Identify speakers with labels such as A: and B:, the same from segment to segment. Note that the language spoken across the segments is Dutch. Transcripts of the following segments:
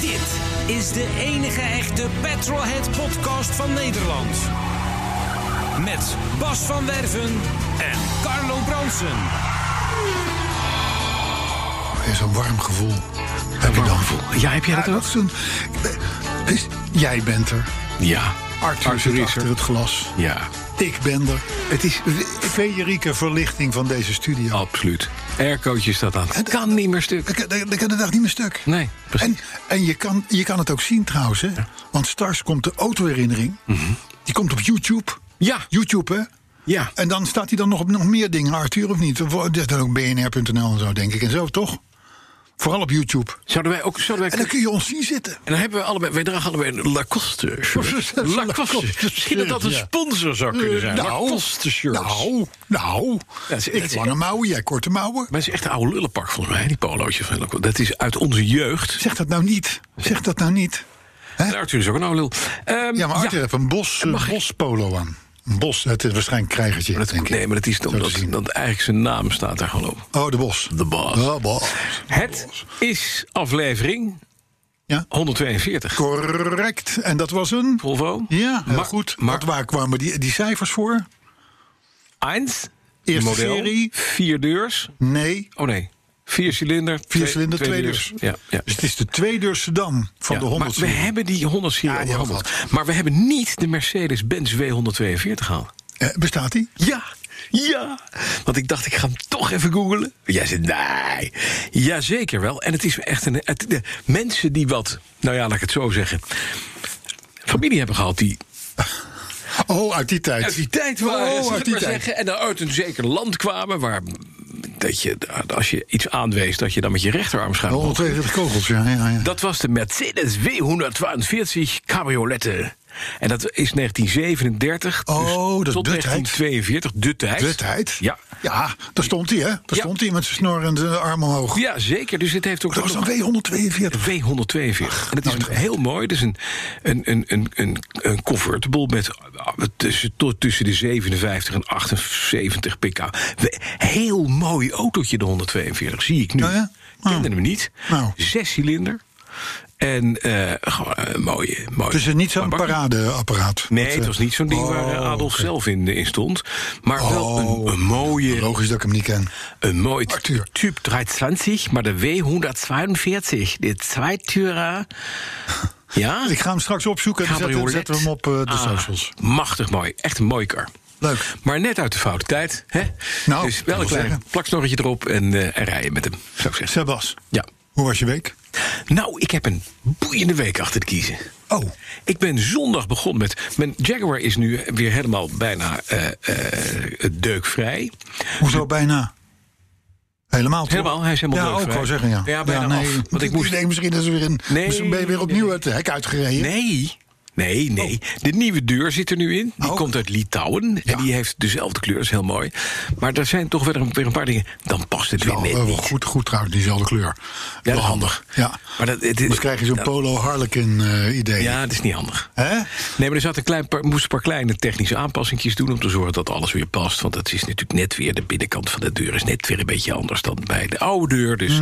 A: Dit is de enige echte Petrolhead podcast van Nederland. Met Bas van Werven en Carlo Bronsen.
B: En Zo'n warm gevoel heb je dan.
C: Ja, heb jij dat
B: Ja,
C: ook?
B: dat is een, is, jij bent er.
C: Ja.
B: Arthur, zit
C: is er.
B: achter het glas.
C: Ja,
B: Ik ben er. Het is een feerieke verlichting van deze studio.
C: Oh. absoluut. Aircootje staat aan. Het kan niet meer stuk.
B: Dat, dat, dat kan de dag niet meer stuk.
C: Nee, precies.
B: En, en je, kan, je kan het ook zien trouwens. Hè? Want Stars komt de autoherinnering. Die komt op YouTube.
C: Mhm. Ja.
B: YouTube, hè?
C: Ja.
B: En dan staat hij dan nog op nog meer dingen, Arthur, of niet? Of, eh, Dat is dan ook bnr.nl en zo, denk ik. En zo, toch? Vooral op YouTube.
C: Zouden wij ook... Zouden
B: En
C: wij
B: dan kun je ons zien zitten.
C: en dan hebben we allebei, wij dragen allebei een Lacoste shirt.
B: Een
C: Lacoste.
B: Lacoste
C: Misschien dat dat een
B: shirt, ja.
C: sponsor zou kunnen zijn.
B: Eh,
C: Lacoste shirts.
B: Nou, nou.
C: Dat is- dat
B: ik
C: is-
B: lange mouwen, jij korte mouwen.
C: Maar het is echt een oude lullenpak volgens mij, die polootjes. van Lacoste. Dat is uit onze jeugd.
B: Zeg dat nou niet. Zeg dat nou niet.
C: En Arthur is ook een oude lul. Ehm,
B: Ja, maar Arthur heeft een bos, eh, bospolo aan. Een bos, het is waarschijnlijk een krijgertje,
C: Maar dat-
B: denk ik.
C: nee, maar dat is
B: Zo te
C: omdat
B: zien.
C: dat eigenlijk zijn naam staat daar gewoon op.
B: Oh, de bos.
C: De Boss.
B: De bos.
C: Het is aflevering
B: Ja,
C: 142.
B: correct. En dat was een...
C: Volvo.
B: Ja, heel
C: Ma-
B: goed.
C: Ma-
B: Wat, waar kwamen die, die cijfers voor?
C: 1.
B: Eerste
C: model,
B: serie.
C: Vier deurs.
B: Nee.
C: Oh nee. Vier cilinder. Vier
B: cilinder, twee deurs.
C: Ja, ja.
B: Dus het is de tweedeur sedan van
C: Ja,
B: de 100
C: maar we
B: serie.
C: hebben die 100 serie
B: Ja, die
C: al
B: hebben we
C: gehad. Maar we hebben niet de Mercedes-Benz W142 gehaald.
B: Eh, bestaat die?
C: Ja, ja. Want ik dacht, ik ga hem toch even googelen. Jij zei, nee. Jazeker wel. En het is echt een... het- de mensen die wat, nou ja, laat ik het zo zeggen... familie hebben gehad die
B: Oh, uit die tijd.
C: uit die tijd waren.
B: Oh,
C: zullen we
B: uit die
C: maar
B: tijd.
C: Zeggen, en dan uit een zeker land kwamen waar... Dat je, als je iets aanwees, dat je dan met je rechterarm schuin
B: Oh,
C: omhoog
B: 142 kogels, ja. ja, ja.
C: Dat was de Mercedes W142 Cabriolette. En dat is 1937. dus
B: Oh, dat is
C: tot
B: de tijd.
C: 1942, de tijd.
B: De tijd.
C: Ja.
B: Ja, daar stond hij, hè? Daar stond hij met zijn snor en zijn arm omhoog.
C: Ja, zeker. Dus dit heeft ook
B: Dat was
C: nog-
B: dan W142.
C: W142. en dat is
B: nou,
C: heel mooi. Dat is een, een, een, een, een, een convertible met ah, tussen, tot tussen de 57 en 78 pk. We- Heel mooi autootje, de 142, zie ik nu.
B: Ja, ja? Nou.
C: Kende hem niet.
B: Nou.
C: Zes cilinder. En eh gewoon een mooie, mooie.
B: Dus het is niet zo'n
C: mooi bakje.
B: paradeapparaat.
C: Nee,
B: Dat,
C: het
B: eh, oh,
C: was niet zo'n ding waar eh, Adolf zelf in, in stond. Maar wel een, een mooie,
B: Logisch dat ik hem niet ken.
C: een mooi
B: Arthur.
C: Typ 320, maar de W142, de tweitürer. Ja?
B: Ik ga hem straks opzoeken en dan zetten,
C: Cabriolet.
B: zetten we hem op eh, de
C: Ah,
B: socials.
C: Machtig mooi, echt een mooie kar.
B: Leuk.
C: Maar net uit de foute tijd. Hè?
B: Nou,
C: dus
B: kan
C: wel een
B: wel
C: klein
B: zeggen.
C: plaksnorretje erop en, eh, en rijden met hem, zou ik zeggen.
B: Sebas,
C: Ja.
B: hoe was je week?
C: Nou, ik heb een boeiende week achter de kiezen.
B: Oh,
C: Ik ben zondag begonnen met. Mijn Jaguar is nu weer helemaal bijna eh, eh, deukvrij.
B: hoezo bijna? Helemaal toch?
C: Helemaal, hij is helemaal
B: Ja, ook
C: deukvrij.
B: wel zeggen, ja.
C: Ja, bijna
B: nee.
C: af, want ik moest-
B: denk misschien dat ze weer in...
C: Nee,
B: misschien ben je weer opnieuw
C: nee.
B: uit het hek uitgereden.
C: Nee. Nee, nee. De nieuwe deur zit er nu in. Die
B: Oh.
C: komt uit Litouwen.
B: Ja.
C: En die heeft dezelfde kleur. Dat is heel mooi. Maar er zijn toch weer een, weer een paar dingen. Dan past het weer
B: Wel,
C: net
B: Nou, wel
C: niet.
B: goed, goed trouwens, diezelfde kleur.
C: Ja,
B: oh. wel
C: dat-
B: handig. Ja.
C: Maar dat, het,
B: Dan krijg je zo'n
C: dat-
B: Polo Harlequin eh, idee.
C: Ja, dat is niet handig.
B: Hè?
C: Nee, maar er zat een klein paar, moest een paar kleine technische aanpassingjes doen... om te zorgen dat alles weer past. Want dat is natuurlijk net weer... de binnenkant van de deur is net weer een beetje anders dan bij de oude deur. Dus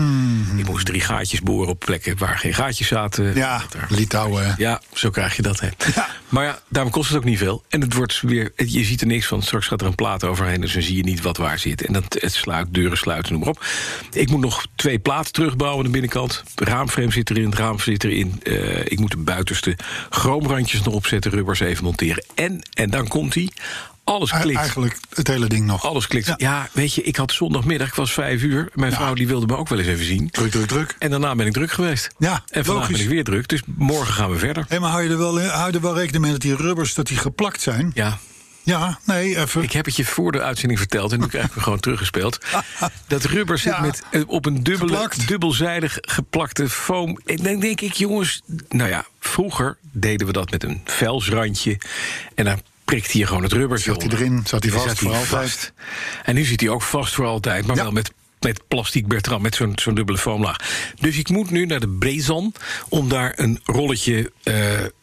C: ik moest drie gaatjes boren op plekken waar geen gaatjes zaten.
B: Hmm. Ja,
C: Dat er-
B: Litouwen. hè.
C: Ja, zo krijg je dat, hè.
B: Ja.
C: Maar ja, daarom kost het ook niet veel. En het wordt weer, het- je ziet er niks van. Straks gaat er een plaat overheen, dus dan zie je niet wat waar zit. En dat, het sluit, deuren sluiten, noem maar op. Ik moet nog twee platen terugbouwen aan de binnenkant. Raamframe zit erin, het raam zit erin. Eh, ik moet de buitenste chroomrandjes nog opzetten, rubbers even monteren. En, en dan komt hij. Alles
B: E-
C: klikt.
B: Eigenlijk het hele ding nog.
C: Alles klikt. Ja.
B: Ja.
C: weet je, ik had zondagmiddag, ik was vijf uur. Mijn vrouw die wilde me ook wel eens even zien.
B: Druk, druk, druk.
C: En daarna ben ik druk geweest.
B: Ja,
C: en vandaag
B: logisch.
C: ben ik weer druk, dus morgen gaan we verder.
B: Hé, maar hou je, er wel, hou je er wel rekening mee dat die rubbers dat die geplakt zijn?
C: Ja,
B: Ja, nee, even.
C: Ik heb het je voor de uitzending verteld en nu krijg ik het gewoon teruggespeeld. Dat rubber zit
B: Ja.
C: met, eh, op een dubbele,
B: Geplakt.
C: dubbelzijdig geplakte foam. En dan denk ik, jongens, nou ja, vroeger deden we dat met een velsrandje. En dan prikte je gewoon het rubber.
B: Zat hij erin, zat hij vast
C: zat
B: voor
C: hij
B: altijd.
C: vast. En nu zit hij ook vast voor altijd, maar
B: Ja.
C: wel met, met plastic Bertrand, met zo'n zo'n dubbele foamlaag. Dus ik moet nu naar de Brezan om daar een rolletje, eh,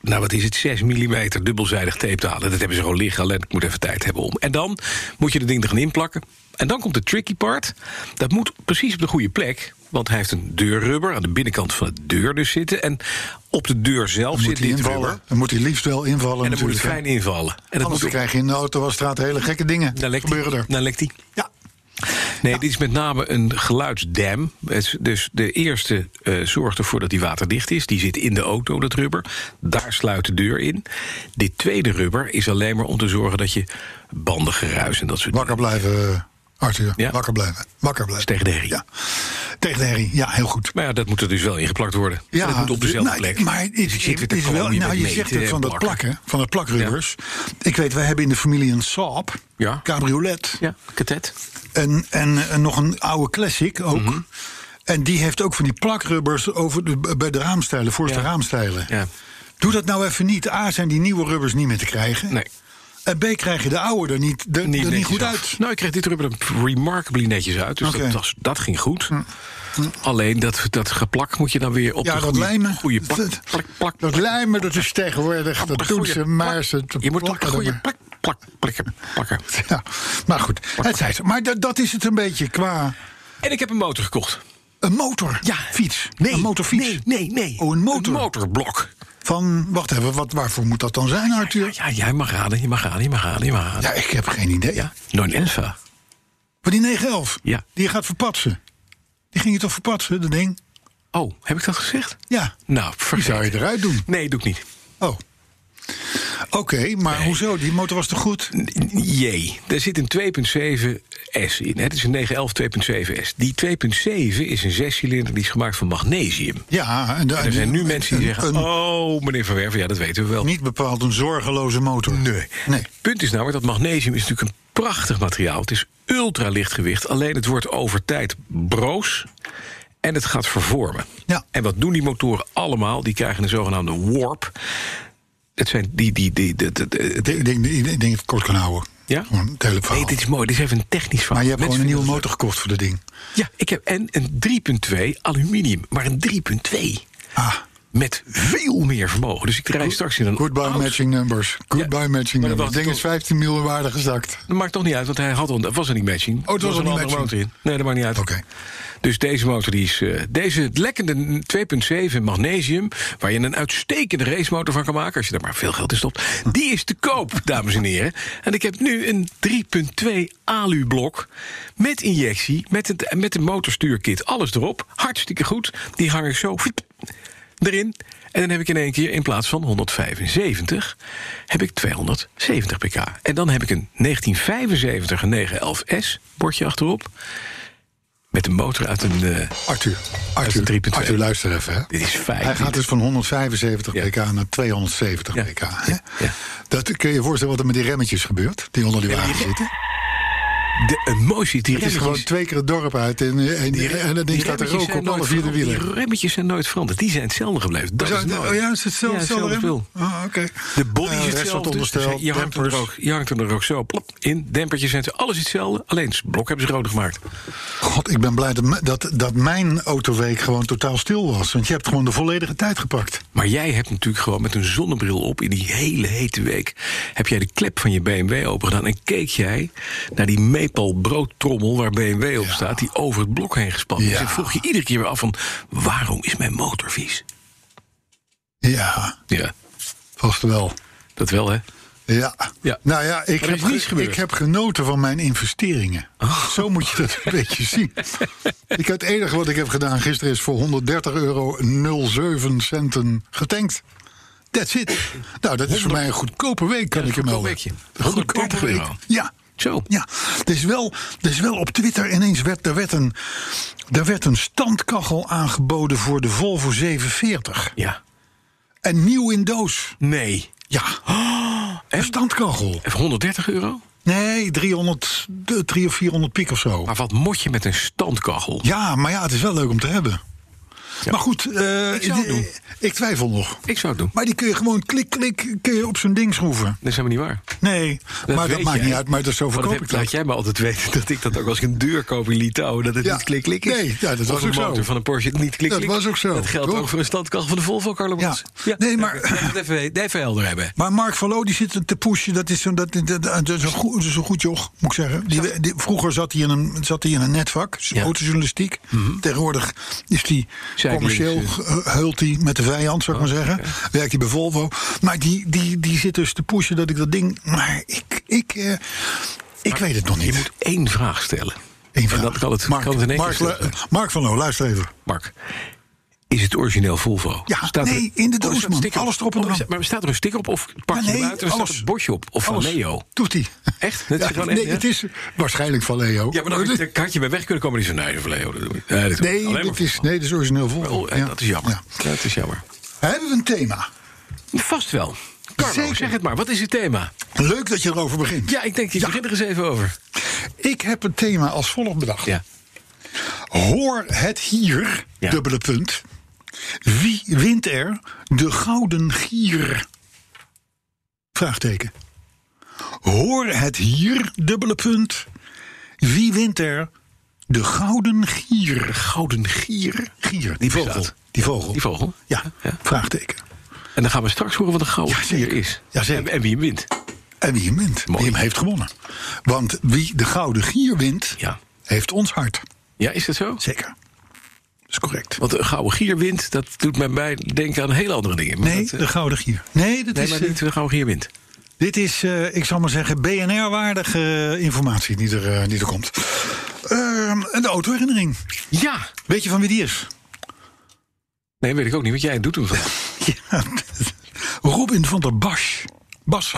C: nou wat is het, 6 mm dubbelzijdig tape te halen. Dat hebben ze gewoon liggen, alleen ik moet even tijd hebben om. En dan moet je het ding er gaan inplakken. En dan komt de tricky part. Dat moet precies op de goede plek. Want hij heeft een deurrubber aan de binnenkant van de deur dus zitten. En op de deur zelf
B: Dan moet
C: zit
B: hij
C: dit
B: invallen.
C: rubber.
B: Dan moet hij liefst wel invallen.
C: En dan moet het
B: natuurlijk, hè.
C: fijn invallen. En dat
B: Anders
C: moet
B: krijg je in de auto als straat hele gekke dingen.
C: dan lekt Nou.
B: gebeuren
C: hij.
B: er.
C: Dan lekt hij.
B: Ja.
C: Nee, dit is met name een geluidsdam. Het is- Dus de eerste eh, zorgt ervoor dat die waterdicht is. Die zit in de auto, dat rubber. Daar sluit de deur in. Dit tweede rubber is alleen maar om te zorgen dat je bandengeruis en dat soort
B: Wakker blijven, eh, Arthur.
C: Ja.
B: Wakker blijven. Wakker blijven.
C: Tegen de herrie.
B: Ja. Tegen de herrie. Ja, heel goed.
C: Maar ja, dat moet er dus wel ingeplakt worden. Ja, dat moet op dezelfde
B: nou,
C: plek.
B: Maar het
C: Dus ik
B: is,
C: zit weer te
B: is wel,
C: klooien
B: nou,
C: met
B: je
C: meten
B: zegt het
C: en
B: van dat plakken, van dat plakrubbers. Ik weet, wij hebben in de familie een Saab,
C: Ja.
B: cabriolet.
C: Ja, katet.
B: En, en, en nog een oude classic ook.
C: Mhm.
B: En die heeft ook van die plakrubbers over de, bij de raamstijlen, voorste
C: Ja.
B: raamstijlen.
C: Ja.
B: Doe dat nou even niet. A, zijn die nieuwe rubbers niet meer te krijgen.
C: Nee.
B: En B, krijg je de oude er niet, de, er niet
C: netjes
B: goed
C: af.
B: uit.
C: Nou, ik kreeg dit rubber er remarkably netjes uit. Dus
B: Oké. Hm.
C: dat, was- dat ging goed. Alleen dat, dat geplak moet je dan weer op
B: Ja,
C: de
B: dat
C: goede,
B: lijmen.
C: goede plak,
B: Dat-
C: plak, plak,
B: Dat lijmen, dat is tegenwoordig. Dat doen ze, maar ze
C: Je moet op de
B: plakken er
C: goede
B: maar.
C: plak, plak, plakken, plakken.
B: Ja, maar goed, het zij zo. Maar dat, dat is het een beetje qua
C: En ik heb een motor gekocht.
B: een motor. Fiets. een motorfiets.
C: Nee, nee, nee.
B: Oh, een motor.
C: motorblok.
B: Van, wacht even, wat, waarvoor moet dat dan zijn, Arthur?
C: Ja,
B: Ja,
C: ja, jij mag raden, je mag raden, je mag raden, je mag raden.
B: ik heb geen idee.
C: Ja, non elfa.
B: Maar die 911,
C: Ja.
B: die je gaat verpatsen. Die ging je toch verpatsen, dat ding?
C: Oh, heb ik dat gezegd?
B: Ja.
C: Nou,
B: Die
C: vergeet.
B: zou je eruit doen.
C: Nee, doe ik niet.
B: Oh. Oké, maar hoezo? Die motor was toch goed?
C: J. Er zit een 2.7S in. hè. Het is een 911 2.7S. Die 2.7 is een zescilinder die is gemaakt van magnesium.
B: Ja, en,
C: Er zijn nu mensen die
B: een-
C: zeggen:
B: een
C: Oh, meneer Van Werven, ja, dat weten we wel.
B: Niet bepaald een zorgeloze motor.
C: Nee.
B: Nee.
C: Punt is namelijk dat magnesium is natuurlijk een prachtig materiaal. Het is ultralichtgewicht, alleen het wordt over tijd broos en het gaat vervormen.
B: Ja.
C: En wat doen die motoren allemaal? Die krijgen een zogenaamde warp. Het zijn die... die, die, die, die- die-
B: Ik denk, ik denk- ik denk dat ik het kort kan houden.
C: Ja?
B: Gewoon het hele verhaal.
C: Nee, dit is mooi. Dit is even een technisch verhaal.
B: maar je hebt gewoon
C: Mensen
B: een nieuwe motor
C: vinden
B: gekocht voor dat ding.
C: dat leuk. Ja, ik heb en een 3.2 aluminium, maar een 3.2
B: Ah,
C: met veel meer vermogen. Dus ik rij straks in een
B: goodbye
C: oud-
B: matching numbers. Goodbye
C: Ja,
B: matching
C: maar dat
B: numbers.
C: was
B: Het ding
C: toch-
B: is 15 miljoen waarde gezakt.
C: Dat maakt toch niet uit, want hij had al, dat was er niet matching.
B: Oh, was
C: Er
B: al
C: een
B: niet
C: andere
B: matching.
C: motor in. Nee, dat maakt niet uit.
B: Oké.
C: Dus deze motor die is. eh, deze lekkende 2,7 magnesium. Waar je een uitstekende racemotor van kan maken. Als je daar maar veel geld in stopt. Die is te koop, dames en heren. En ik heb nu een 3,2 alublok. Met injectie. Met een, met een motorstuurkit. Alles erop. Hartstikke goed. Die hang ik zo fiep, erin. En dan heb ik in één keer in plaats van 175. heb ik 270 pk. En dan heb ik een 1975 911S. Bordje achterop. Met een motor uit een. eh,
B: Arthur,
C: een
B: Arthur,
C: 3.2.
B: Arthur luister even. Hè.
C: dit is fijn.
B: Hij gaat dus van 175
C: Ja.
B: pk naar 270
C: Ja.
B: pk. Hè?
C: Ja. Ja.
B: Dat kun je je voorstellen wat er met die remmetjes gebeurt. Die onder die wagen zitten.
C: de emotie die
B: Het is
C: remmetjes.
B: gewoon twee keer het dorp uit. En, eh, en, en, dat ding
C: die
B: staat er
C: remmetjes
B: rook
C: zijn
B: op
C: nooit
B: alle vier de
C: veranderd.
B: wielen.
C: Die remmetjes zijn nooit veranderd. Die zijn hetzelfde gebleven. Dat is
B: Zou-
C: het mooie.
B: oh ja, is
C: Ja,
B: hetzelfde hetzelfde rem?
C: spul.
B: Ah, oké.
C: De body
B: Eh,
C: is
B: rest wordt
C: hetzelfde. Dus
B: ondersteld,
C: je, hangt hem er
B: dempers.
C: ook, je hangt hem er ook zo plop, in. Dempertjes zijn ze- alles is hetzelfde. Alleen het blok hebben ze rood gemaakt.
B: God, ik ben blij dat, m- dat, dat mijn autoweek gewoon totaal stil was. Want je hebt gewoon de volledige tijd gepakt.
C: Maar jij hebt natuurlijk gewoon met een zonnebril op in die hele hete week. heb jij de klep van je BMW opengedaan. en keek jij naar die maple broodtrommel waar BMW op staat. die over het blok heen gespannen is.
B: Ja.
C: En vroeg je iedere keer weer af van. waarom is mijn motor vies?
B: Ja,
C: Ja,
B: vast wel.
C: dat wel hè?
B: Ja.
C: Ja.
B: Nou ja, ik
C: er
B: heb,
C: is niets
B: ge-
C: gebeurd. Oh.
B: ik heb genoten van mijn investeringen. Zo moet je dat een beetje zien. Ik, het enige wat ik heb gedaan gisteren is voor 130 euro 07 centen getankt. That's it. Nou, dat is voor mij een goedkope week, kan ik je
C: goedkoop
B: melden.
C: weekje.
B: Een goedkope
C: 130
B: week.
C: euro.
B: Ja.
C: Zo.
B: Ja, het is wel, het is wel op Twitter ineens werd, er werd, een, er werd een standkachel aangeboden voor de Volvo 740.
C: Ja.
B: En nieuw in doos.
C: Nee.
B: Ja. Een standkachel.
C: Even 130 euro?
B: Nee, 300, de 300 of 400 piek of zo.
C: Maar wat moet je met een standkachel?
B: Ja, maar ja, het is wel leuk om te hebben. Maar goed, eh,
C: Ik zou het doen.
B: ik twijfel nog.
C: Ik zou het doen.
B: Maar die kun je gewoon klik, klik kun je op zo'n ding schroeven.
C: Dat is helemaal niet waar.
B: Nee, maar
C: weet
B: dat maakt
C: jij.
B: niet uit. Maar dat zo
C: Want
B: verkoop
C: heb-
B: ik
C: Laat
B: dat.
C: jij me altijd weten dat ik dat ook als ik een deur koop in Litouwen... dat het
B: Ja.
C: niet klik-klik is.
B: Nee, ja, dat
C: Of
B: was
C: een
B: ook zo.
C: motor van een Porsche niet klik-klik.
B: Dat was ook zo,
C: Dat geldt
B: toch?
C: ook voor een standkachel van de Volvo, Carlo
B: Ja.
C: Brands.
B: Nee, maar-
C: Laten we het Even, weten, even helder hebben.
B: Maar Mark van Loo, die zit te pushen. Dat is, zo'n- dat, dat, dat, dat is, een goed, dat is een goed joch, moet ik zeggen. Die, die- vroeger zat hij in een, zat hij in een netvak, dus
C: Ja. Mhm.
B: autojournalistiek. Tegenwoordig is hij
C: Zijdelings,
B: commercieel, eh, heult hij met de vijand, zou ik
C: Oh,
B: maar zeggen. Werkt hij bij Volvo. Maar die, die, die zit dus te pushen dat ik dat ding... Maar ik, ik, eh, ik weet het nog niet.
C: Je moet één vraag stellen.
B: Eén
C: En
B: vraag.
C: dat kan het,
B: Mark,
C: kan het in één
B: Mark,
C: keer
B: lu-
C: zijn.
B: Mark van Loo, luister even.
C: Mark, is het origineel Volvo?
B: Ja,
C: er-
B: nee, in de
C: Oh,
B: doos,
C: staat
B: man.
C: sticker op?
B: Alles erop en
C: Oh, is-
B: eraan.
C: Maar staat er een sticker op of pak
B: Ja,
C: je hem uit en er staat een bordje op? Of
B: alles.
C: van Leo?
B: Doet hij.
C: Echt? Dat is
B: Ja,
C: gewoon echt,
B: nee,
C: ja?
B: het is waarschijnlijk van Leo.
C: Ja, maar dan
B: Oh,
C: had
B: dit-
C: je- had je bij weg kunnen komen die zo, nee, van Leo, dat doen we niet. Nee, dat doen we
B: Nee,
C: alleen maar
B: dat
C: van
B: is,
C: Volvo.
B: nee, dat is origineel vol.
C: Oh, eh,
B: Ja.
C: dat is jammer.
B: Ja.
C: Dat is jammer.
B: Hebben we een thema?
C: Vast wel. Carlo,
B: Zeker.
C: zeg het maar. Wat is het thema?
B: Leuk dat je erover begint.
C: Ja, ik denk, ik begin er eens even over.
B: Ik heb het thema als volgt bedacht.
C: Ja.
B: Hoor het hier,
C: Ja.
B: dubbele punt. Wie wint er de gouden gier? Vraagteken. Hoor het hier, dubbele punt. Wie wint er de gouden gier?
C: Gouden gier.
B: Gier, die vogel.
C: bestaat.
B: Die vogel.
C: Die vogel.
B: Ja,
C: Ja.
B: vraagteken.
C: En dan gaan we straks horen wat een gouden
B: Ja, zeker.
C: gier is.
B: Ja, zeker.
C: En, en wie hem wint.
B: En wie hem wint,
C: Mooi.
B: wie hem heeft gewonnen. Want wie de gouden gier wint,
C: Ja.
B: heeft ons hart.
C: Ja, is dat zo?
B: Zeker. Dat is correct.
C: Want een gouden gier wint, dat doet mij bij denken aan hele andere dingen. Maar
B: Nee,
C: dat, eh,
B: de gouden gier. Nee, dat
C: nee,
B: is,
C: maar
B: eh,
C: niet een gouden gier wint.
B: dit is, eh, ik zal maar zeggen, BNR-waardige informatie die er, eh, die er komt. Ehm, en de autoherinnering.
C: Ja.
B: Weet je van wie die is?
C: Nee, weet ik ook niet, want jij doet hem vandaag.
B: Ja, Robin van der Bas. Bas.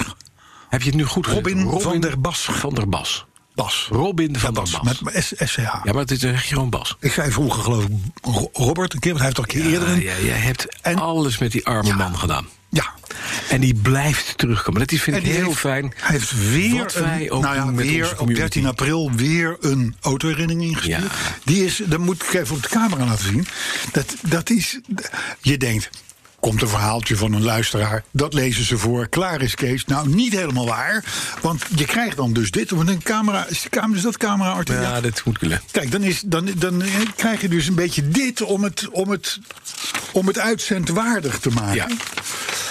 C: Heb je het nu goed gezien?
B: Robin, van der Bas.
C: van der Bas.
B: Bas.
C: Robin van
B: Ja, Bas.
C: der Bas.
B: Met met S- SCH.
C: Ja, maar het is echt gewoon Bas.
B: Ik zei vroeger, geloof ik, Ro- Robert een keer, want hij heeft toch een keer eerder
C: Ja,
B: een.
C: ja, jij hebt
B: En-
C: alles met die arme man gedaan.
B: ja.
C: En die blijft terugkomen. Dat is- vind ik
B: die
C: heel
B: heeft-
C: fijn.
B: Hij heeft weer,
C: Wat
B: een-
C: wij ook
B: nou ja,
C: doen met
B: weer
C: onze
B: op
C: community.
B: 13 april weer een autoherinnering ingestuurd.
C: Ja.
B: Die is, dat moet ik even op de camera laten zien. Dat, dat is, je denkt, komt een verhaaltje van een luisteraar. Dat lezen ze voor. Klaar is Kees. Nou, niet helemaal waar. Want je krijgt dan dus dit. Want een camera, is, de camera, is dat camera, Arthur? Ja.
C: Ja, dat moet kunnen.
B: Kijk, dan, is, dan, dan eh, krijg je dus een beetje dit om het, om het, om het uitzendwaardig te maken.
C: Ja.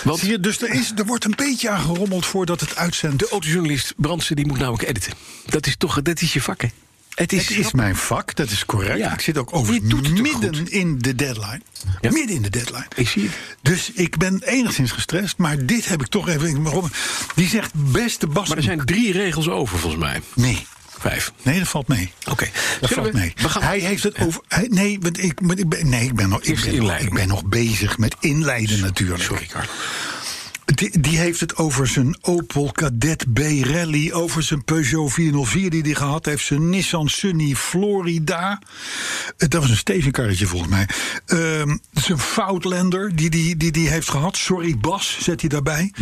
C: Want-
B: Zie je, dus er, is, er wordt een beetje aan gerommeld voordat het uitzendt.
C: De autojournalist Brandsen die moet namelijk editen. Dat is toch, dat is je vak, hè? Het is,
B: Het is mijn vak, dat is correct.
C: Ja.
B: Ik zit ook
C: Je doet het
B: overigens
C: ook
B: midden
C: goed.
B: in de deadline.
C: Ja.
B: Midden in de deadline.
C: Ik zie het.
B: Dus ik ben enigszins gestrest, maar dit heb ik toch even... waarom- Die zegt beste Bas...
C: Maar er zijn drie regels over, volgens mij.
B: Nee,
C: Vijf.
B: nee, dat valt mee.
C: Oké.
B: Dat
C: Zullen
B: valt
C: we-
B: mee.
C: We gaan
B: Hij heeft het over... hij- nee, want ik, want ik ben, nee, ik ben nog, ik
C: Eerste
B: ben, nog-
C: inleiding.
B: ik ben nog bezig met inleiden natuurlijk.
C: Sorry, Carlo.
B: Die, die heeft het over zijn Opel Kadett B Rally, over zijn Peugeot 404 die hij gehad heeft, zijn Nissan Sunny Florida. Eh, Dat was een stevenkarretje volgens mij. Ehm, zijn Foutlander die hij die, die, die heeft gehad, sorry Bas, zet hij daarbij.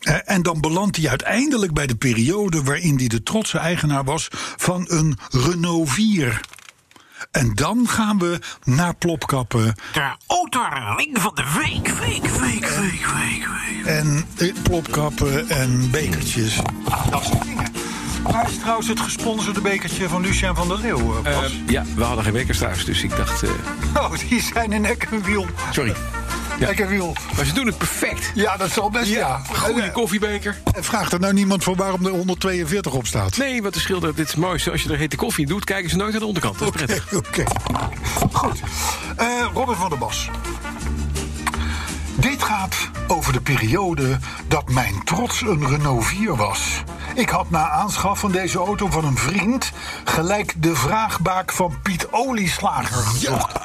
B: Eh, en dan belandt hij uiteindelijk bij de periode waarin hij de trotse eigenaar was van een Renault 4. En dan gaan we naar plopkappen.
D: De autoring van de week, week, week, week, week, week.
B: en eh, plopkappen en bekertjes. Ah, Dat soort dingen. Waar is trouwens het gesponsorde bekertje van Lucien van der Leeuw, eh, Bas?
C: Eh, ja, we hadden geen wekkers thuis, dus ik dacht... eh,
B: oh, die zijn in Eck en Wiel.
C: sorry. Ja.
B: Eck en Wiel.
C: Maar ze doen het perfect.
B: Ja, dat zal best, ja.
C: Goede
B: En, eh,
C: koffiebeker.
B: en vraagt er nou niemand voor waarom er 142 op staat?
C: Nee, wat de schilder, dit is mooi. Als je er hete koffie in doet, kijken ze nooit aan de onderkant. Dat is prettig.
B: Oké. Goed. Eh Robin van der Bas. Dit gaat over de periode dat mijn trots een Renault 4 was. Ik had na aanschaf van deze auto van een vriend gelijk de vraagbaak van Piet Olieslager gezocht.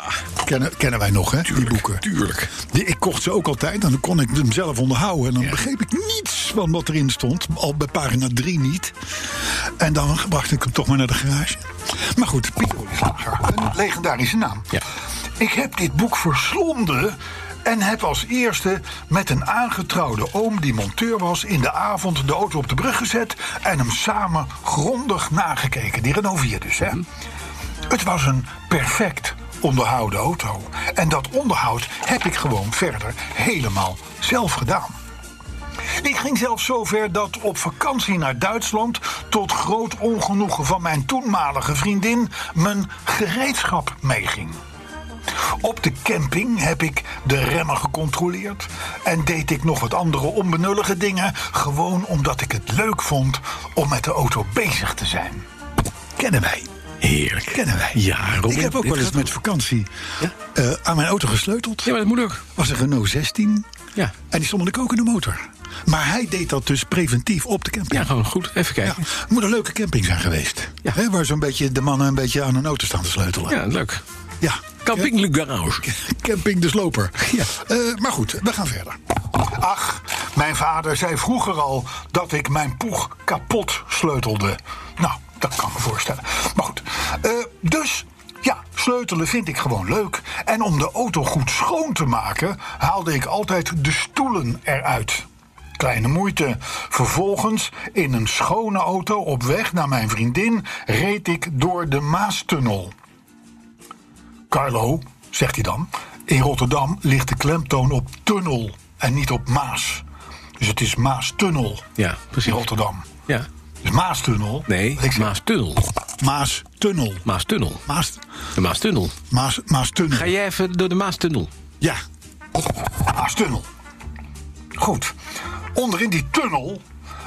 B: Kennen, kennen wij nog, hè? die boeken.
C: Tuurlijk.
B: Die- Ik kocht ze ook altijd en dan kon ik hem zelf onderhouden. En dan begreep ik niets van wat erin stond. Al bij pagina 3 niet. En dan bracht ik hem toch maar naar de garage. Maar goed, Pieter Olieslager, een legendarische naam.
C: Ja.
B: Ik heb dit boek verslonden En heb als eerste met een aangetrouwde oom die monteur was... in de avond de auto op de brug gezet en hem samen grondig nagekeken. Die Renault 4 dus, hè. Het was een perfect onderhouden auto. En dat onderhoud heb ik gewoon verder helemaal zelf gedaan. Ik ging zelfs zover dat op vakantie naar Duitsland... tot groot ongenoegen van mijn toenmalige vriendin... mijn gereedschap meeging. Op de camping heb ik de remmen gecontroleerd... en deed ik nog wat andere onbenullige dingen... gewoon omdat ik het leuk vond om met de auto bezig te zijn. Kennen wij.
C: Heerlijk.
B: Kennen wij.
C: Ja, Robin.
B: ik heb ook
C: dit
B: wel eens
C: gaat
B: met
C: goed.
B: vakantie eh, aan mijn auto gesleuteld.
C: Ja, maar dat moet ook.
B: was een Renault 16
C: Ja.
B: en die stond met de kokende motor. Maar hij deed dat dus preventief op de camping.
C: Ja, gewoon goed. Even
B: Ja,
C: kijken.
B: het moet een leuke camping zijn geweest.
C: Ja.
B: Hè, waar zo'n beetje de mannen een beetje aan hun auto staan te sleutelen.
C: Ja, leuk.
B: Ja.
C: Camping Le Garage.
B: Camping de Sloper. Eh, maar goed, we gaan verder. Ach, mijn vader zei vroeger al dat ik mijn poeg kapot sleutelde. Nou, dat kan ik me voorstellen. Maar goed, eh, dus ja, sleutelen vind ik gewoon leuk. En om de auto goed schoon te maken, haalde ik altijd de stoelen eruit. Kleine moeite. Vervolgens, in een schone auto op weg naar mijn vriendin, reed ik door de Maastunnel. Carlo, zegt hij dan. In Rotterdam ligt de klemtoon op tunnel en niet op Maas. Dus het is Maastunnel
C: Ja, precies.
B: in Rotterdam.
C: Ja.
B: Dus Maastunnel.
C: Nee,
B: Ik zeg
C: Maastunnel.
B: Maastunnel.
C: Maastunnel.
B: Maas,
C: De Maastunnel.
B: Maas, Maastunnel.
C: Ga jij even door de Maastunnel?
B: Ja. Maastunnel. Goed. Onderin die tunnel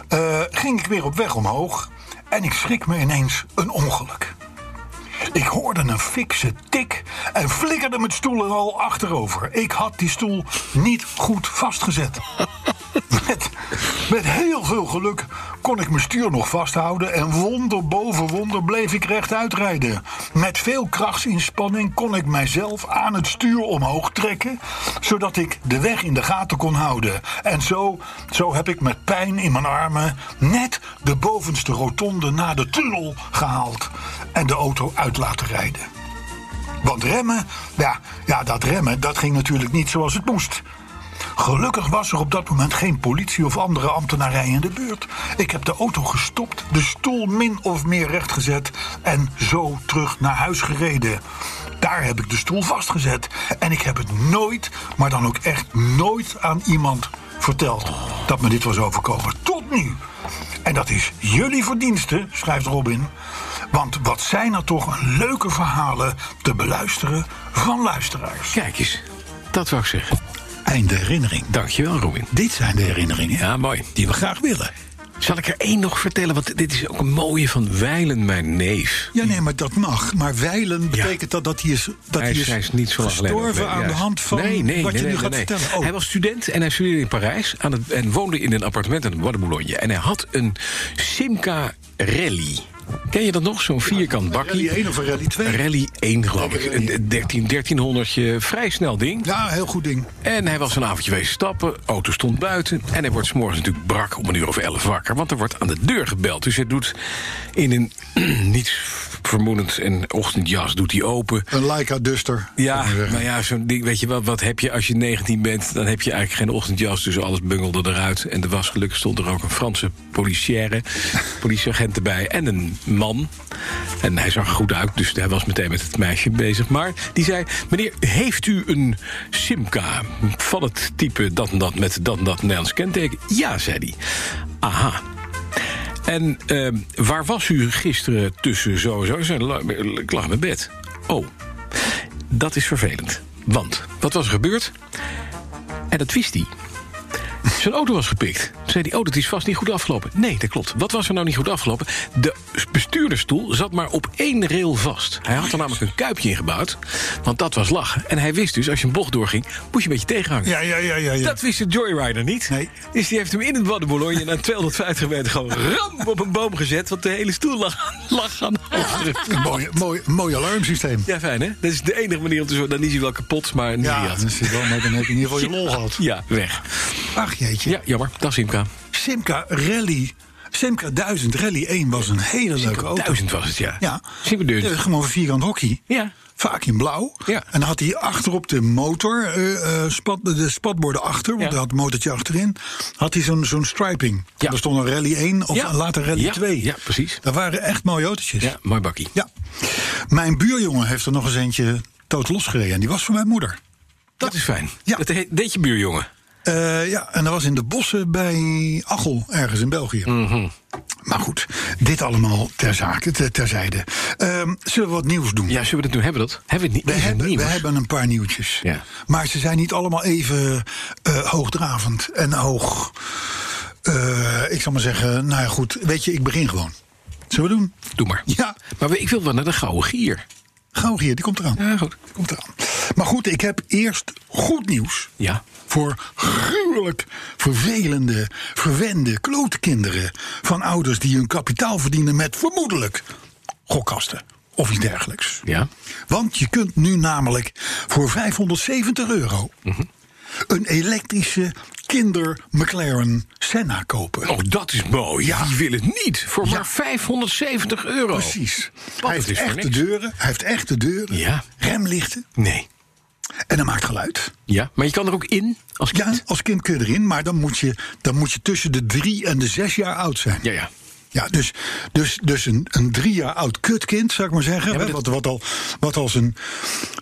B: eh, ging ik weer op weg omhoog. En ik schrik me ineens een ongeluk. Ik hoorde een fikse tik en flikkerde mijn stoel er al achterover. Ik had die stoel niet goed vastgezet. Met, met heel veel geluk kon ik mijn stuur nog vasthouden... en wonder boven wonder bleef ik rechtuit rijden. Met veel krachtsinspanning kon ik mijzelf aan het stuur omhoog trekken... zodat ik de weg in de gaten kon houden. En zo, zo heb ik met pijn in mijn armen... net de bovenste rotonde naar de tunnel gehaald... en de auto uit laten rijden. Want remmen, ja, ja dat remmen, dat ging natuurlijk niet zoals het moest... Gelukkig was er op dat moment geen politie of andere ambtenarij in de buurt. Ik heb de auto gestopt, de stoel min of meer rechtgezet en zo terug naar huis gereden. Daar heb ik de stoel vastgezet en ik heb het nooit, maar dan ook echt nooit aan iemand verteld dat me dit was overkomen. Tot nu. En dat is jullie verdienste, schrijft Robin. Want wat zijn er toch een leuke verhalen te beluisteren van luisteraars.
C: Kijk eens. Dat wou ik zeggen.
B: Einde herinnering.
C: Dankjewel, Robin.
B: Dit zijn de herinneringen
C: Ja, mooi.
B: die we graag willen.
C: Zal ik er één nog vertellen? Want dit is ook een mooie van Wijlen, mijn neef.
B: Ja, nee, maar dat mag. Maar wijlen betekent dat dat hij is, dat
C: Hij
B: hij
C: is, hij is niet zo lang geleden
B: gestorven
C: overleden,
B: aan de
C: juist.
B: hand van
C: Nee, nee,
B: wat
C: nee,
B: je nu
C: nee,
B: gaat
C: nee.
B: vertellen. Oh,
C: Hij was student en hij studeerde in Parijs aan het, en woonde in een appartement aan de Bois de Boulogne. En hij had een Simca Rally. Ken je dat nog? Zo'n vierkant bakkie.
B: rally 1 of een rally 2?
C: Rally 1, geloof ik. Een 13, 1300 vrij snel ding.
B: ja, heel goed ding.
C: En hij was een avondje wezen stappen, auto stond buiten... en hij wordt 's morgens natuurlijk brak om een uur of elf wakker... want er wordt aan de deur gebeld. Dus hij doet in een niets vermoedend en ochtendjas doet hij open...
B: Een Leica Duster.
C: Ja,
B: zou ik maar zeggen.
C: nou ja, zo'n ding, weet je wel, wat heb je als je 19 bent? Dan heb je eigenlijk geen ochtendjas, dus alles bungelde eruit. En er was gelukkig stond er ook een Franse policière, politieagent erbij en een man. En hij zag er goed uit, dus hij was meteen met het meisje bezig. Maar die zei, meneer, heeft u een Simca van het type dat en dat met dat en dat Nederlands kenteken? Ja, zei hij. Aha, en ehm, waar was u gisteren tussen zo en zo? Ik zei, la- Ik lag in mijn bed. Oh, dat is vervelend. Want, wat was er gebeurd? En dat wist hij. Zijn auto was gepikt. Toen zei hij, oh, dat is vast niet goed afgelopen. Nee, dat klopt. Wat was er nou niet goed afgelopen? De bestuurdersstoel zat maar op één rail vast. Hij had er namelijk een kuipje in gebouwd. Want dat was lachen. En hij wist dus, als je een bocht doorging, moest je een beetje tegenhangen.
B: ja, ja, ja, ja. ja.
C: Dat wist de Joyrider niet.
B: Nee.
C: Dus die heeft hem in het Bois de Boulogne na 250 meter gewoon ram op een boom gezet. Want de hele stoel lag, lag aan achteren.
B: Een mooi, mooi, mooi alarmsysteem.
C: Ja, fijn hè? Dat is de enige manier om te zorgen. Dan is hij wel kapot, maar niet
B: Ja,
C: gejat.
B: dat is wel, maar dan heb je in ieder geval je lol gehad.
C: Ja, weg.
B: Ach jeetje.
C: Ja, jammer. Dag Simka.
B: Simca Rally, Simca 1000 Rally 1 was een hele leuke auto.
C: Duizend was het, ja.
B: Ja.
C: Simka Deurne.
B: Eh, Gewoon vierkant hockey.
C: Ja.
B: vaak in blauw.
C: Ja.
B: En dan had hij achterop de motor, eh, eh, spat, de spatborden achter, want
C: Ja.
B: hij had een motortje achterin, had hij zo'n zo'n striping.
C: Ja.
B: Er stond een Rally 1 of
C: Ja.
B: later Rally
C: Ja,
B: 2.
C: ja, precies.
B: Dat waren echt mooie autootjes.
C: Ja, mooi bakkie.
B: Ja. Mijn buurjongen heeft er nog eens eentje dood losgereden. En die was van mijn moeder.
C: Dat is fijn.
B: Ja.
C: Dat he- deed je buurjongen.
B: Eh, ja, en dat was in de bossen bij Achel, ergens in België.
C: Mhm.
B: Maar goed, dit allemaal ter zake, ter- terzijde. Ehm, zullen we wat nieuws doen?
C: Ja, zullen we dat nu hebben? Dat? Hebben we het
B: We
C: niet? Is er
B: hebben, we
C: nieuws?
B: hebben een paar nieuwtjes.
C: Ja.
B: Maar ze zijn niet allemaal even eh, hoogdravend en hoog. eh, ik zal maar zeggen, nou ja, goed. Weet je, ik begin gewoon. Zullen we doen?
C: Doe maar.
B: Ja,
C: Maar we- ik wil wel naar de gouden gier.
B: gauw hier, die komt eraan.
C: Ja, goed.
B: Die komt eraan. Maar goed, ik heb eerst goed nieuws.
C: Ja.
B: Voor gruwelijk vervelende, verwende klootkinderen. van ouders die hun kapitaal verdienen met vermoedelijk gokkasten of iets dergelijks.
C: Ja.
B: Want je kunt nu namelijk voor 570 euro.
C: Mhm.
B: een elektrische kinder McLaren Senna kopen.
C: Oh, dat is mooi.
B: Ja.
C: Die wil het niet. Voor
B: Ja.
C: maar 570 euro.
B: Precies.
C: Want
B: Hij
C: het
B: heeft,
C: is voor
B: echte
C: niks.
B: deuren, hij heeft echte deuren,
C: Ja.
B: remlichten
C: Nee.
B: en hij maakt geluid.
C: Ja, maar je kan er ook in als kind.
B: Ja, als kind kun je erin, maar dan moet je, dan moet je tussen de drie en de zes jaar oud zijn.
C: Ja, ja.
B: Ja, dus, dus, dus een, een drie jaar oud kutkind, zou ik maar zeggen.
C: maar
B: hè,
C: dat-
B: wat, wat al, wat al zijn,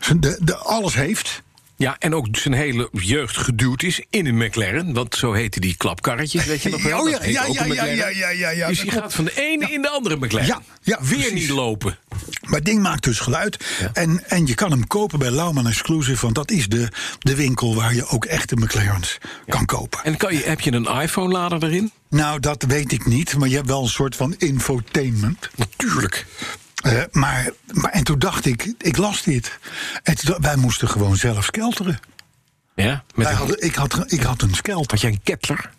B: zijn de, de alles heeft.
C: Ja, en ook zijn hele jeugd geduwd is in een McLaren. Want zo heette die klapkarretjes, weet je nog wel?
B: Oh ja,
C: Dat heette
B: ja,
C: ook
B: ja,
C: een
B: ja,
C: McLaren.
B: ja, ja, ja, ja,
C: Dus
B: dat
C: die
B: klopt.
C: gaat van de ene in de andere McLaren.
B: Ja, ja,
C: Weer
B: precies.
C: niet lopen.
B: Maar het ding maakt dus geluid.
C: Ja.
B: En, en je kan hem kopen bij Lauman Exclusive. Want dat is de, de winkel waar je ook echte McLaren's kan kopen.
C: En kan je, heb je een iPhone-lader erin?
B: Nou, dat weet ik niet. Maar je hebt wel een soort van infotainment.
C: Natuurlijk.
B: Eh, maar, maar, en toen dacht ik, ik las dit. En toen dacht- wij moesten gewoon zelf skelteren.
C: Ja, met
B: Wij
C: een,
B: hadden, ik, had, ik had een skelter.
C: had jij een kettler?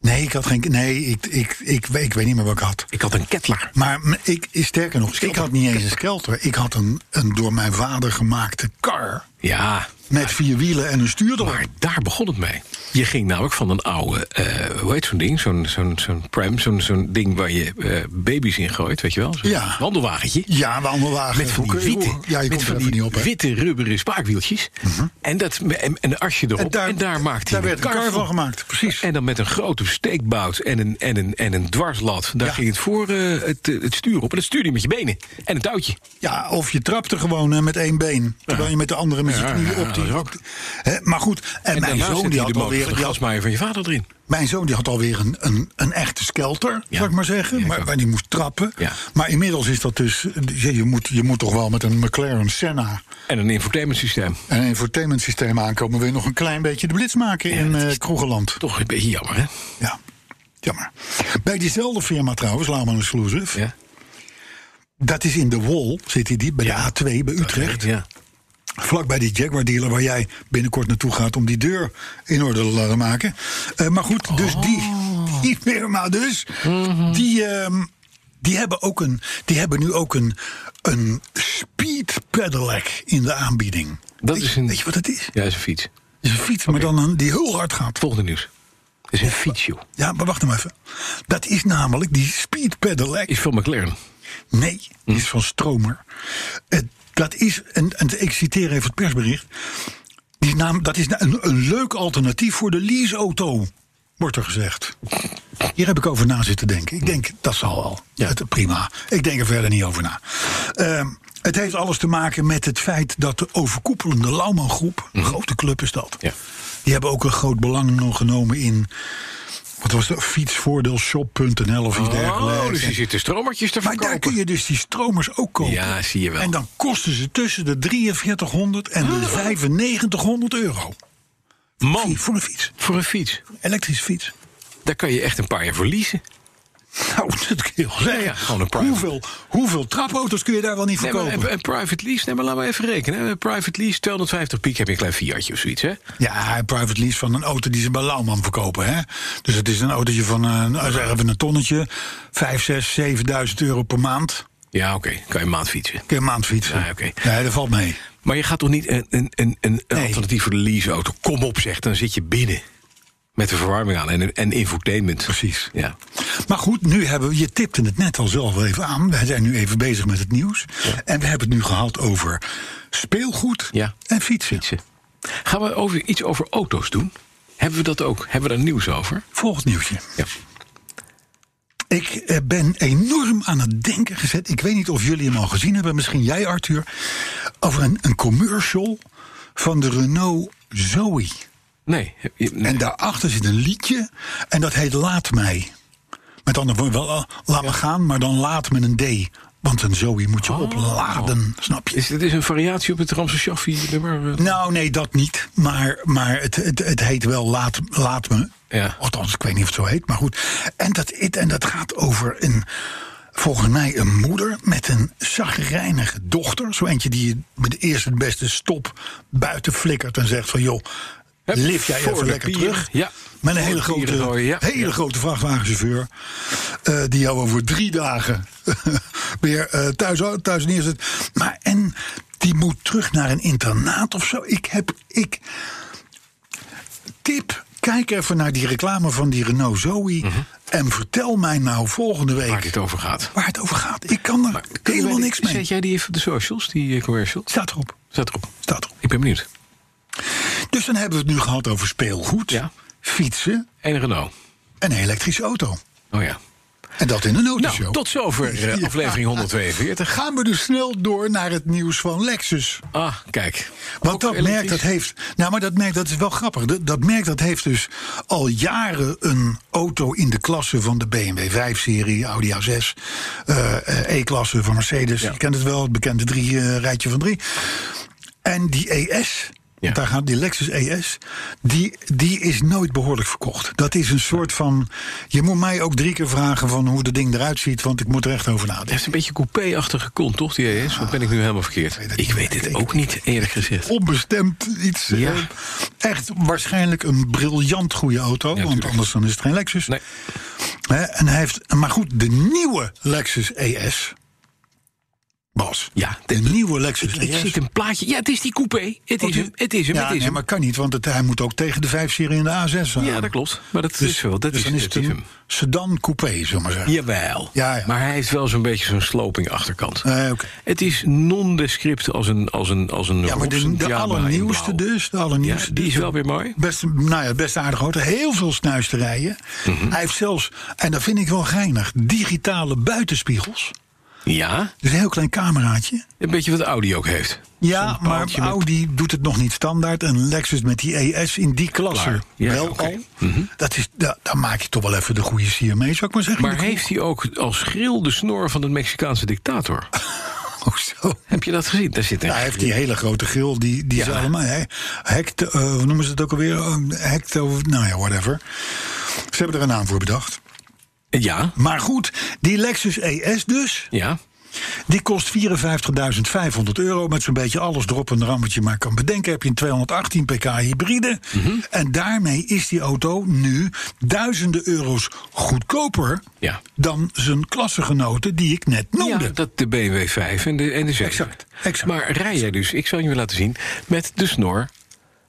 B: Nee, ik had geen. Nee, ik, ik, ik, weet- ik weet niet meer wat ik had.
C: Ik had een kettler.
B: Maar m- ik, sterker nog, ik had niet eens een skelter. Ik had een, een door mijn vader gemaakte kar.
C: Ja,
B: Met vier wielen en een stuur erop.
C: maar daar begon het mee. Je ging namelijk van een oude, eh, hoe heet zo'n ding? Zo'n zo'n zo'n pram, zo'n zo'n ding waar je eh, baby's in gooit, weet je wel? Zo'n
B: Ja.
C: wandelwagentje.
B: Ja, wandelwagen.
C: Met van
B: Hoe
C: die
B: kun je-
C: witte,
B: hoe- Ja, je
C: met
B: komt
C: van
B: er
C: die
B: even niet op. hè. Mhm.
C: witte rubberen spaakwieltjes. En, dat, en, en een asje erop. En daar, maakte
B: daar
C: hij
B: werd een kar van gemaakt. Precies.
C: En dan met een grote steekbout en een, en een, en een dwarslat. Daar
B: Ja.
C: ging het voor eh, het, eh, het stuur op. En dat stuurde je met je benen. En een touwtje.
B: Ja, of je trapte gewoon hè, met één been. Terwijl je met de andere met je
C: Ja,
B: knieën
C: ja,
B: op die.
C: dat is
B: op die- hè, maar goed, en, mijn,
C: En daarna
B: zoon,
C: zette
B: die had
C: je de motor
B: alweer,
C: van de
B: die had,
C: grasmaaier van je vader erin.
B: mijn zoon die had alweer een, een, een echte skelter,
C: Ja.
B: zou ik maar zeggen.
C: Ja,
B: maar,
C: zo.
B: waar die moest trappen.
C: Ja.
B: Maar inmiddels is dat dus. Je, je, moet, je moet toch wel met een McLaren Senna
C: En een infotainment systeem.
B: en een infotainment systeem aankomen. Wil je nog een klein beetje de blitz maken in eh Kroegeland?
C: Toch een beetje jammer, hè?
B: Ja, jammer. Bij diezelfde firma trouwens, Lauman Exclusive.
C: Ja.
B: Dat is in de Wol, zit hij die, bij de A2 bij Utrecht.
C: Ja.
B: Vlakbij die Jaguar dealer waar jij binnenkort naartoe gaat om die deur in orde te laten maken. Eh, maar goed, dus
C: Oh.
B: die, die firma dus,
C: Mhm.
B: die, ehm, die, hebben ook een, die hebben nu ook een, een speed pedelec in de aanbieding.
C: Dat
B: weet,
C: is een-
B: weet je wat het is?
C: ja, is een fiets.
B: Het is een fiets, maar dan een, die heel hard gaat.
C: Volgende nieuws. Het is een fiets, joh.
B: Ja, maar wacht nou even. Dat is namelijk die speed pedelec.
C: Is van McLaren.
B: Nee, die is van Stromer. Eh, dat is, en, en ik citeer even het persbericht. Die naam, dat is na- een, een leuk alternatief voor de leaseauto, wordt er gezegd. Hier heb ik over na zitten denken. Ik denk, dat zal wel. Ja. Het, prima. Ik denk er verder niet over na. Ehm, het heeft alles te maken met het feit dat de overkoepelende Lauman Groep... een grote club is dat.
C: Mhm. Ja.
B: Die hebben ook een groot belang nog genomen in... wat was dat? Fietsvoordeelshop.nl of iets dergelijks.
C: Oh, dus
B: En-
C: die zitten stromertjes te
B: maar
C: verkopen.
B: daar kun je dus die stromers ook kopen.
C: Ja, zie je wel.
B: En dan kosten ze tussen de 4300 en de 9500 euro.
C: Man,
B: Voor een fiets.
C: voor een fiets.
B: Een elektrische fiets.
C: Daar kan je echt een paar jaar verliezen.
B: Nou, dat kun je wel zeggen.
C: ja, gewoon een private.
B: hoeveel, hoeveel trapauto's kun je daar wel niet
C: Nee, maar
B: verkopen?
C: een, een private lease, nee, maar laten we even rekenen. hè. Een private lease, 250 piek heb je een klein Fiatje of zoiets, hè?
B: ja, een private lease van een auto die ze bij Lauwman verkopen. Hè? Dus het is een autootje van eh, nou, zeggen we een tonnetje. 5, 6, 7000 euro per maand.
C: Ja, oké, kan je een maand fietsen.
B: Kun je een maand fietsen.
C: Ja, Ah, oké.
B: Nee, dat valt mee.
C: Maar je gaat toch niet een, een, een, een
B: Nee.
C: alternatief voor de leaseauto? Kom op, zeg, dan zit je binnen. Met de verwarming aan en, en infotainment.
B: Precies.
C: Ja.
B: Maar goed, nu hebben we, je tipte het net al zelf wel even aan. Wij zijn nu even bezig met het nieuws. En we hebben het nu gehad over speelgoed
C: Ja.
B: en fietsen.
C: Fietsen. Gaan we over, iets over auto's doen? Hebben we dat ook? Hebben we daar nieuws over?
B: Volgend nieuwsje.
C: Ja.
B: Ik eh, ben enorm aan het denken gezet. Ik weet niet of jullie hem al gezien hebben, misschien jij Arthur. Over een, een commercial van de Renault Zoe.
C: Nee. heb je- nee.
B: En daarachter zit een liedje en dat heet Laat mij. Met andere woorden, wel, eh, laat me gaan, maar dan laat me een D. Want een Zoe moet je opladen, snap je?
C: Oh. Is dit is een variatie op het Ramse Shaffi nummer? eh,
B: Nou, nee, dat niet. Maar, maar het, het, het heet wel Laat, laat Me.
C: Ja.
B: Althans, ik weet niet of het zo heet, maar goed. En dat, it- en dat gaat over een, volgens mij, een moeder met een zagrijnige dochter. Zo eentje die je met de eerste het beste stop buiten flikkert en zegt van... joh,
C: Hup,
B: Leef jij
C: voor
B: even
C: de
B: lekker
C: pieren.
B: terug.
C: Ja.
B: Met een
C: Voor
B: hele
C: de pieren
B: grote,
C: gooien, ja.
B: hele
C: Ja.
B: grote vrachtwagenchauffeur. eh, die jou over drie dagen weer eh, thuis, thuis neerzet. Maar en die moet terug naar een internaat of zo. Ik heb. Ik, tip. Kijk even naar die reclame van die Renault Zoe. En vertel mij nou volgende week
C: Mhm. Waar dit over gaat.
B: waar het over gaat. Ik kan er
C: Kun je
B: helemaal
C: bij-
B: niks mee.
C: Zet jij die even op de socials, die eh, commercial?
B: Staat erop.
C: Staat erop.
B: Staat erop.
C: Ik ben benieuwd.
B: Dus dan hebben we het nu gehad over speelgoed,
C: Ja.
B: fietsen
C: En Renault.
B: en een elektrische auto.
C: Oh ja.
B: En dat in een
C: Nou,
B: autoshow.
C: tot zover eh,
B: Ja.
C: aflevering 142.
B: Gaan we dus snel door naar het nieuws van Lexus.
C: Ah, kijk.
B: Want
C: Ook
B: dat merk
C: elektrisch?
B: dat heeft. Nou, maar dat merk dat is wel grappig. Dat, dat merk dat heeft dus al jaren een auto in de klasse van de BMW 5-serie, Audi A6, eh, eh, E-klasse van Mercedes.
C: Ja.
B: Je kent het wel, het bekende drie eh, rijtje van drie. En die ES. want Daar gaat die Lexus ES. Die, die is nooit behoorlijk verkocht. Dat is een soort van. Je moet mij ook drie keer vragen van hoe dat ding eruit ziet, want ik moet er echt over
C: Het
B: nadenken.
C: heeft een beetje coupé-achtige kont, toch, die ES? Of ben ik nu helemaal verkeerd?
B: weet het
C: ik
B: niet.
C: weet dit
B: Ik-
C: ook niet, eerlijk gezegd.
B: onbestemd iets.
C: Ja.
B: eh, Echt waarschijnlijk een briljant goede auto. want
C: tuurlijk.
B: anders dan is het geen Lexus.
C: Nee.
B: Hè, en hij heeft, maar goed, de nieuwe Lexus ES. Bas.
C: Ja,
B: De nieuwe Lexus
C: Ik
B: ES.
C: zit een plaatje. Ja, het is die coupé. Het is
B: die-
C: hem, het is hem,
B: ja,
C: het is
B: nee,
C: hem.
B: maar kan niet, want het, hij moet ook tegen de 5-serie en de A6 aan.
C: Ja, dat klopt. Maar dat
B: Dus,
C: is wel. Dat
B: dus
C: is,
B: dan is het
C: dat is
B: een
C: hem.
B: sedan-coupé, zullen we maar zeggen.
C: Jawel.
B: Ja, ja.
C: Maar hij heeft wel zo'n beetje zo'n sloping achterkant.
B: Eh, oké.
C: Het is nondescript als een als een als een.
B: Ja, maar de,
C: Robson
B: de
C: Jabra in
B: allernieuwste
C: blauw.
B: dus. De
C: Ja,
B: allernieuwste
C: die
B: dus.
C: is wel weer mooi.
B: Best, nou ja, best aardig auto. Heel veel snuisterijen.
C: Mhm.
B: Hij heeft zelfs, en dat vind ik wel geinig, digitale buitenspiegels.
C: Ja,
B: Dus een heel klein cameraatje.
C: een beetje wat Audi ook heeft.
B: Ja,
C: Zo'n
B: maar
C: paaltje met-
B: Audi doet het nog niet standaard. En Lexus met die ES in die klasse
C: Klaar. Ja,
B: wel
C: oké. Mhm.
B: al. Dat is, da- daar maak je toch wel even de goede sier mee, zou ik maar zeggen.
C: Maar heeft hij ook als gril de snor van de Mexicaanse dictator?
B: Oh, zo.
C: Heb je dat gezien? Daar zit een.
B: Ja, hij heeft die hele grote grill, die, die ze allemaal... He, hect, eh, hoe noemen ze het ook alweer? Eh, Hecto, nou ja, whatever. Ze hebben er een naam voor bedacht.
C: Ja,
B: Maar goed, die Lexus ES dus...
C: ja.
B: Die kost 54.500 euro. Met zo'n beetje alles erop en eraan wat je maar kan bedenken. Heb je een 218 pk hybride.
C: Mhm.
B: En daarmee is die auto nu duizenden euro's goedkoper
C: Ja.
B: dan zijn klassegenoten die ik net noemde.
C: Ja, dat de BMW 5 en de, en de 7.
B: Exact, exact.
C: Maar rij jij dus, ik zal je weer laten zien, met de snor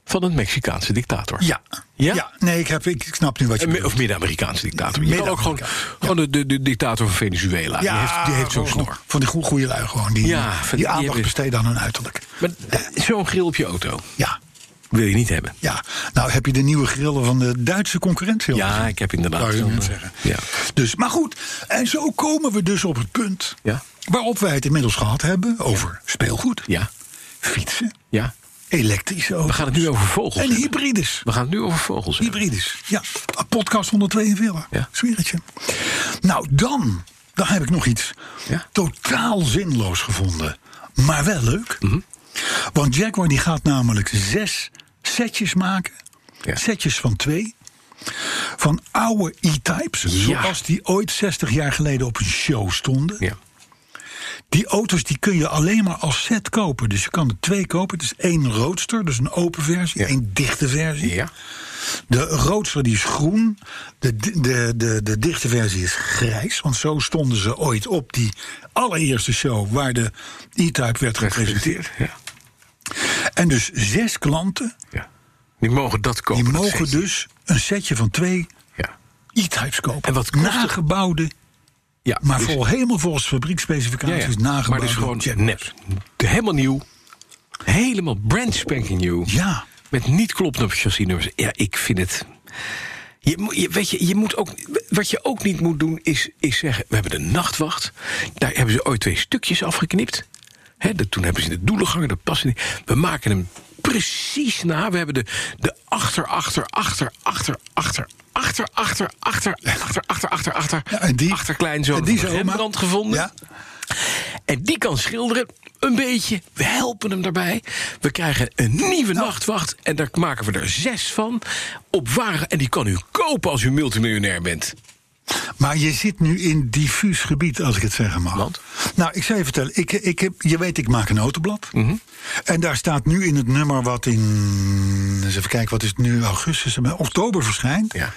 C: van een Mexicaanse dictator.
B: ja.
C: Ja?
B: Nee, ik, heb, ik snap nu wat je
C: Een Eh, me-
B: bedoelt.
C: Of midden-Amerikaanse dictator. Je kan ook gewoon, gewoon de, de, de dictator van Venezuela. die heeft, die heeft zo'n
B: gewoon
C: snor.
B: Van Nou, die goe- goeie lui gewoon. Die,
C: Ja, van die- die
B: die aandacht
C: hebben-
B: besteden aan hun uiterlijk.
C: Maar d- zo'n grill op je auto
B: Ja,
C: wil je niet hebben.
B: ja. Nou heb je de nieuwe grillen van de Duitse concurrentie al
C: Ja, ik heb inderdaad.
B: Zou je
C: zo'n,
B: net
C: eh,
B: zeggen.
C: Ja.
B: Dus, maar goed, en zo komen we dus op het punt
C: Ja.
B: waarop wij het inmiddels gehad hebben over speelgoed,
C: Ja.
B: fietsen,
C: ja.
B: elektrische auto's.
C: We gaan het nu over vogels.
B: En
C: hebben.
B: hybrides.
C: We gaan het nu over vogels. hebben.
B: Hybrides, ja. Podcast 142,
C: Ja.
B: zweer het je. Nou, dan, dan heb ik nog iets
C: Ja.
B: totaal zinloos gevonden, maar wel leuk.
C: Mhm.
B: Want Jaguar die gaat namelijk zes setjes maken.
C: Ja.
B: Setjes van twee. Van oude E-types, zoals die ooit 60 jaar geleden op een show stonden.
C: Ja.
B: Die auto's die kun je alleen maar als set kopen. Dus je kan er twee kopen. Het is één roadster, dus een open versie,
C: Ja.
B: één dichte versie.
C: Ja.
B: De roodster die is groen. De, di- de, de, de dichte versie is grijs. Want zo stonden ze ooit op die allereerste show waar de E-Type werd gepresenteerd.
C: Ja.
B: En dus zes klanten
C: ja. Die mogen dat kopen.
B: die
C: dat
B: mogen
C: setje.
B: dus een setje van twee
C: Ja.
B: E-types kopen.
C: En wat kost het?
B: Nagebouwde,
C: ja
B: maar
C: dus-
B: vol, helemaal volgens
C: ja, ja.
B: fabriekspecificaties nagebouwde.
C: Maar dus gewoon
B: Jaguars.
C: nep. Helemaal nieuw. Helemaal brand spanking nieuw.
B: Ja.
C: Met niet kloppende chassisnummers. Ja, ik vind het... Je, moet- je, weet je, je moet ook, wat je ook niet moet doen, is, is zeggen... we hebben de nachtwacht. Daar hebben ze ooit twee stukjes afgeknipt. Hè, dat, toen hebben ze de doelengangen, dat past niet. We maken hem precies na. We hebben de, de achter, achter, achter, achter, achter... Achter, achter, achter, achter, achter, achter, achter.
B: Ja, en die,
C: achterkleinzoon
B: en die
C: van
B: zijn oma.
C: Rembrandt gevonden.
B: Ja,
C: En die kan schilderen, een beetje. We helpen hem daarbij. We krijgen een nieuwe nachtwacht. En daar maken we er zes van. Op wagen. En die kan u kopen als u multimiljonair bent.
B: Maar je zit nu in diffuus gebied, als ik het zeggen mag.
C: Want?
B: Nou, ik zou je vertellen. Ik, ik heb, je weet, ik maak een autoblad.
C: Mhm.
B: En daar staat nu in het nummer wat in... Eens even kijken, wat is het nu? Augustus, eh, oktober verschijnt.
C: Ja.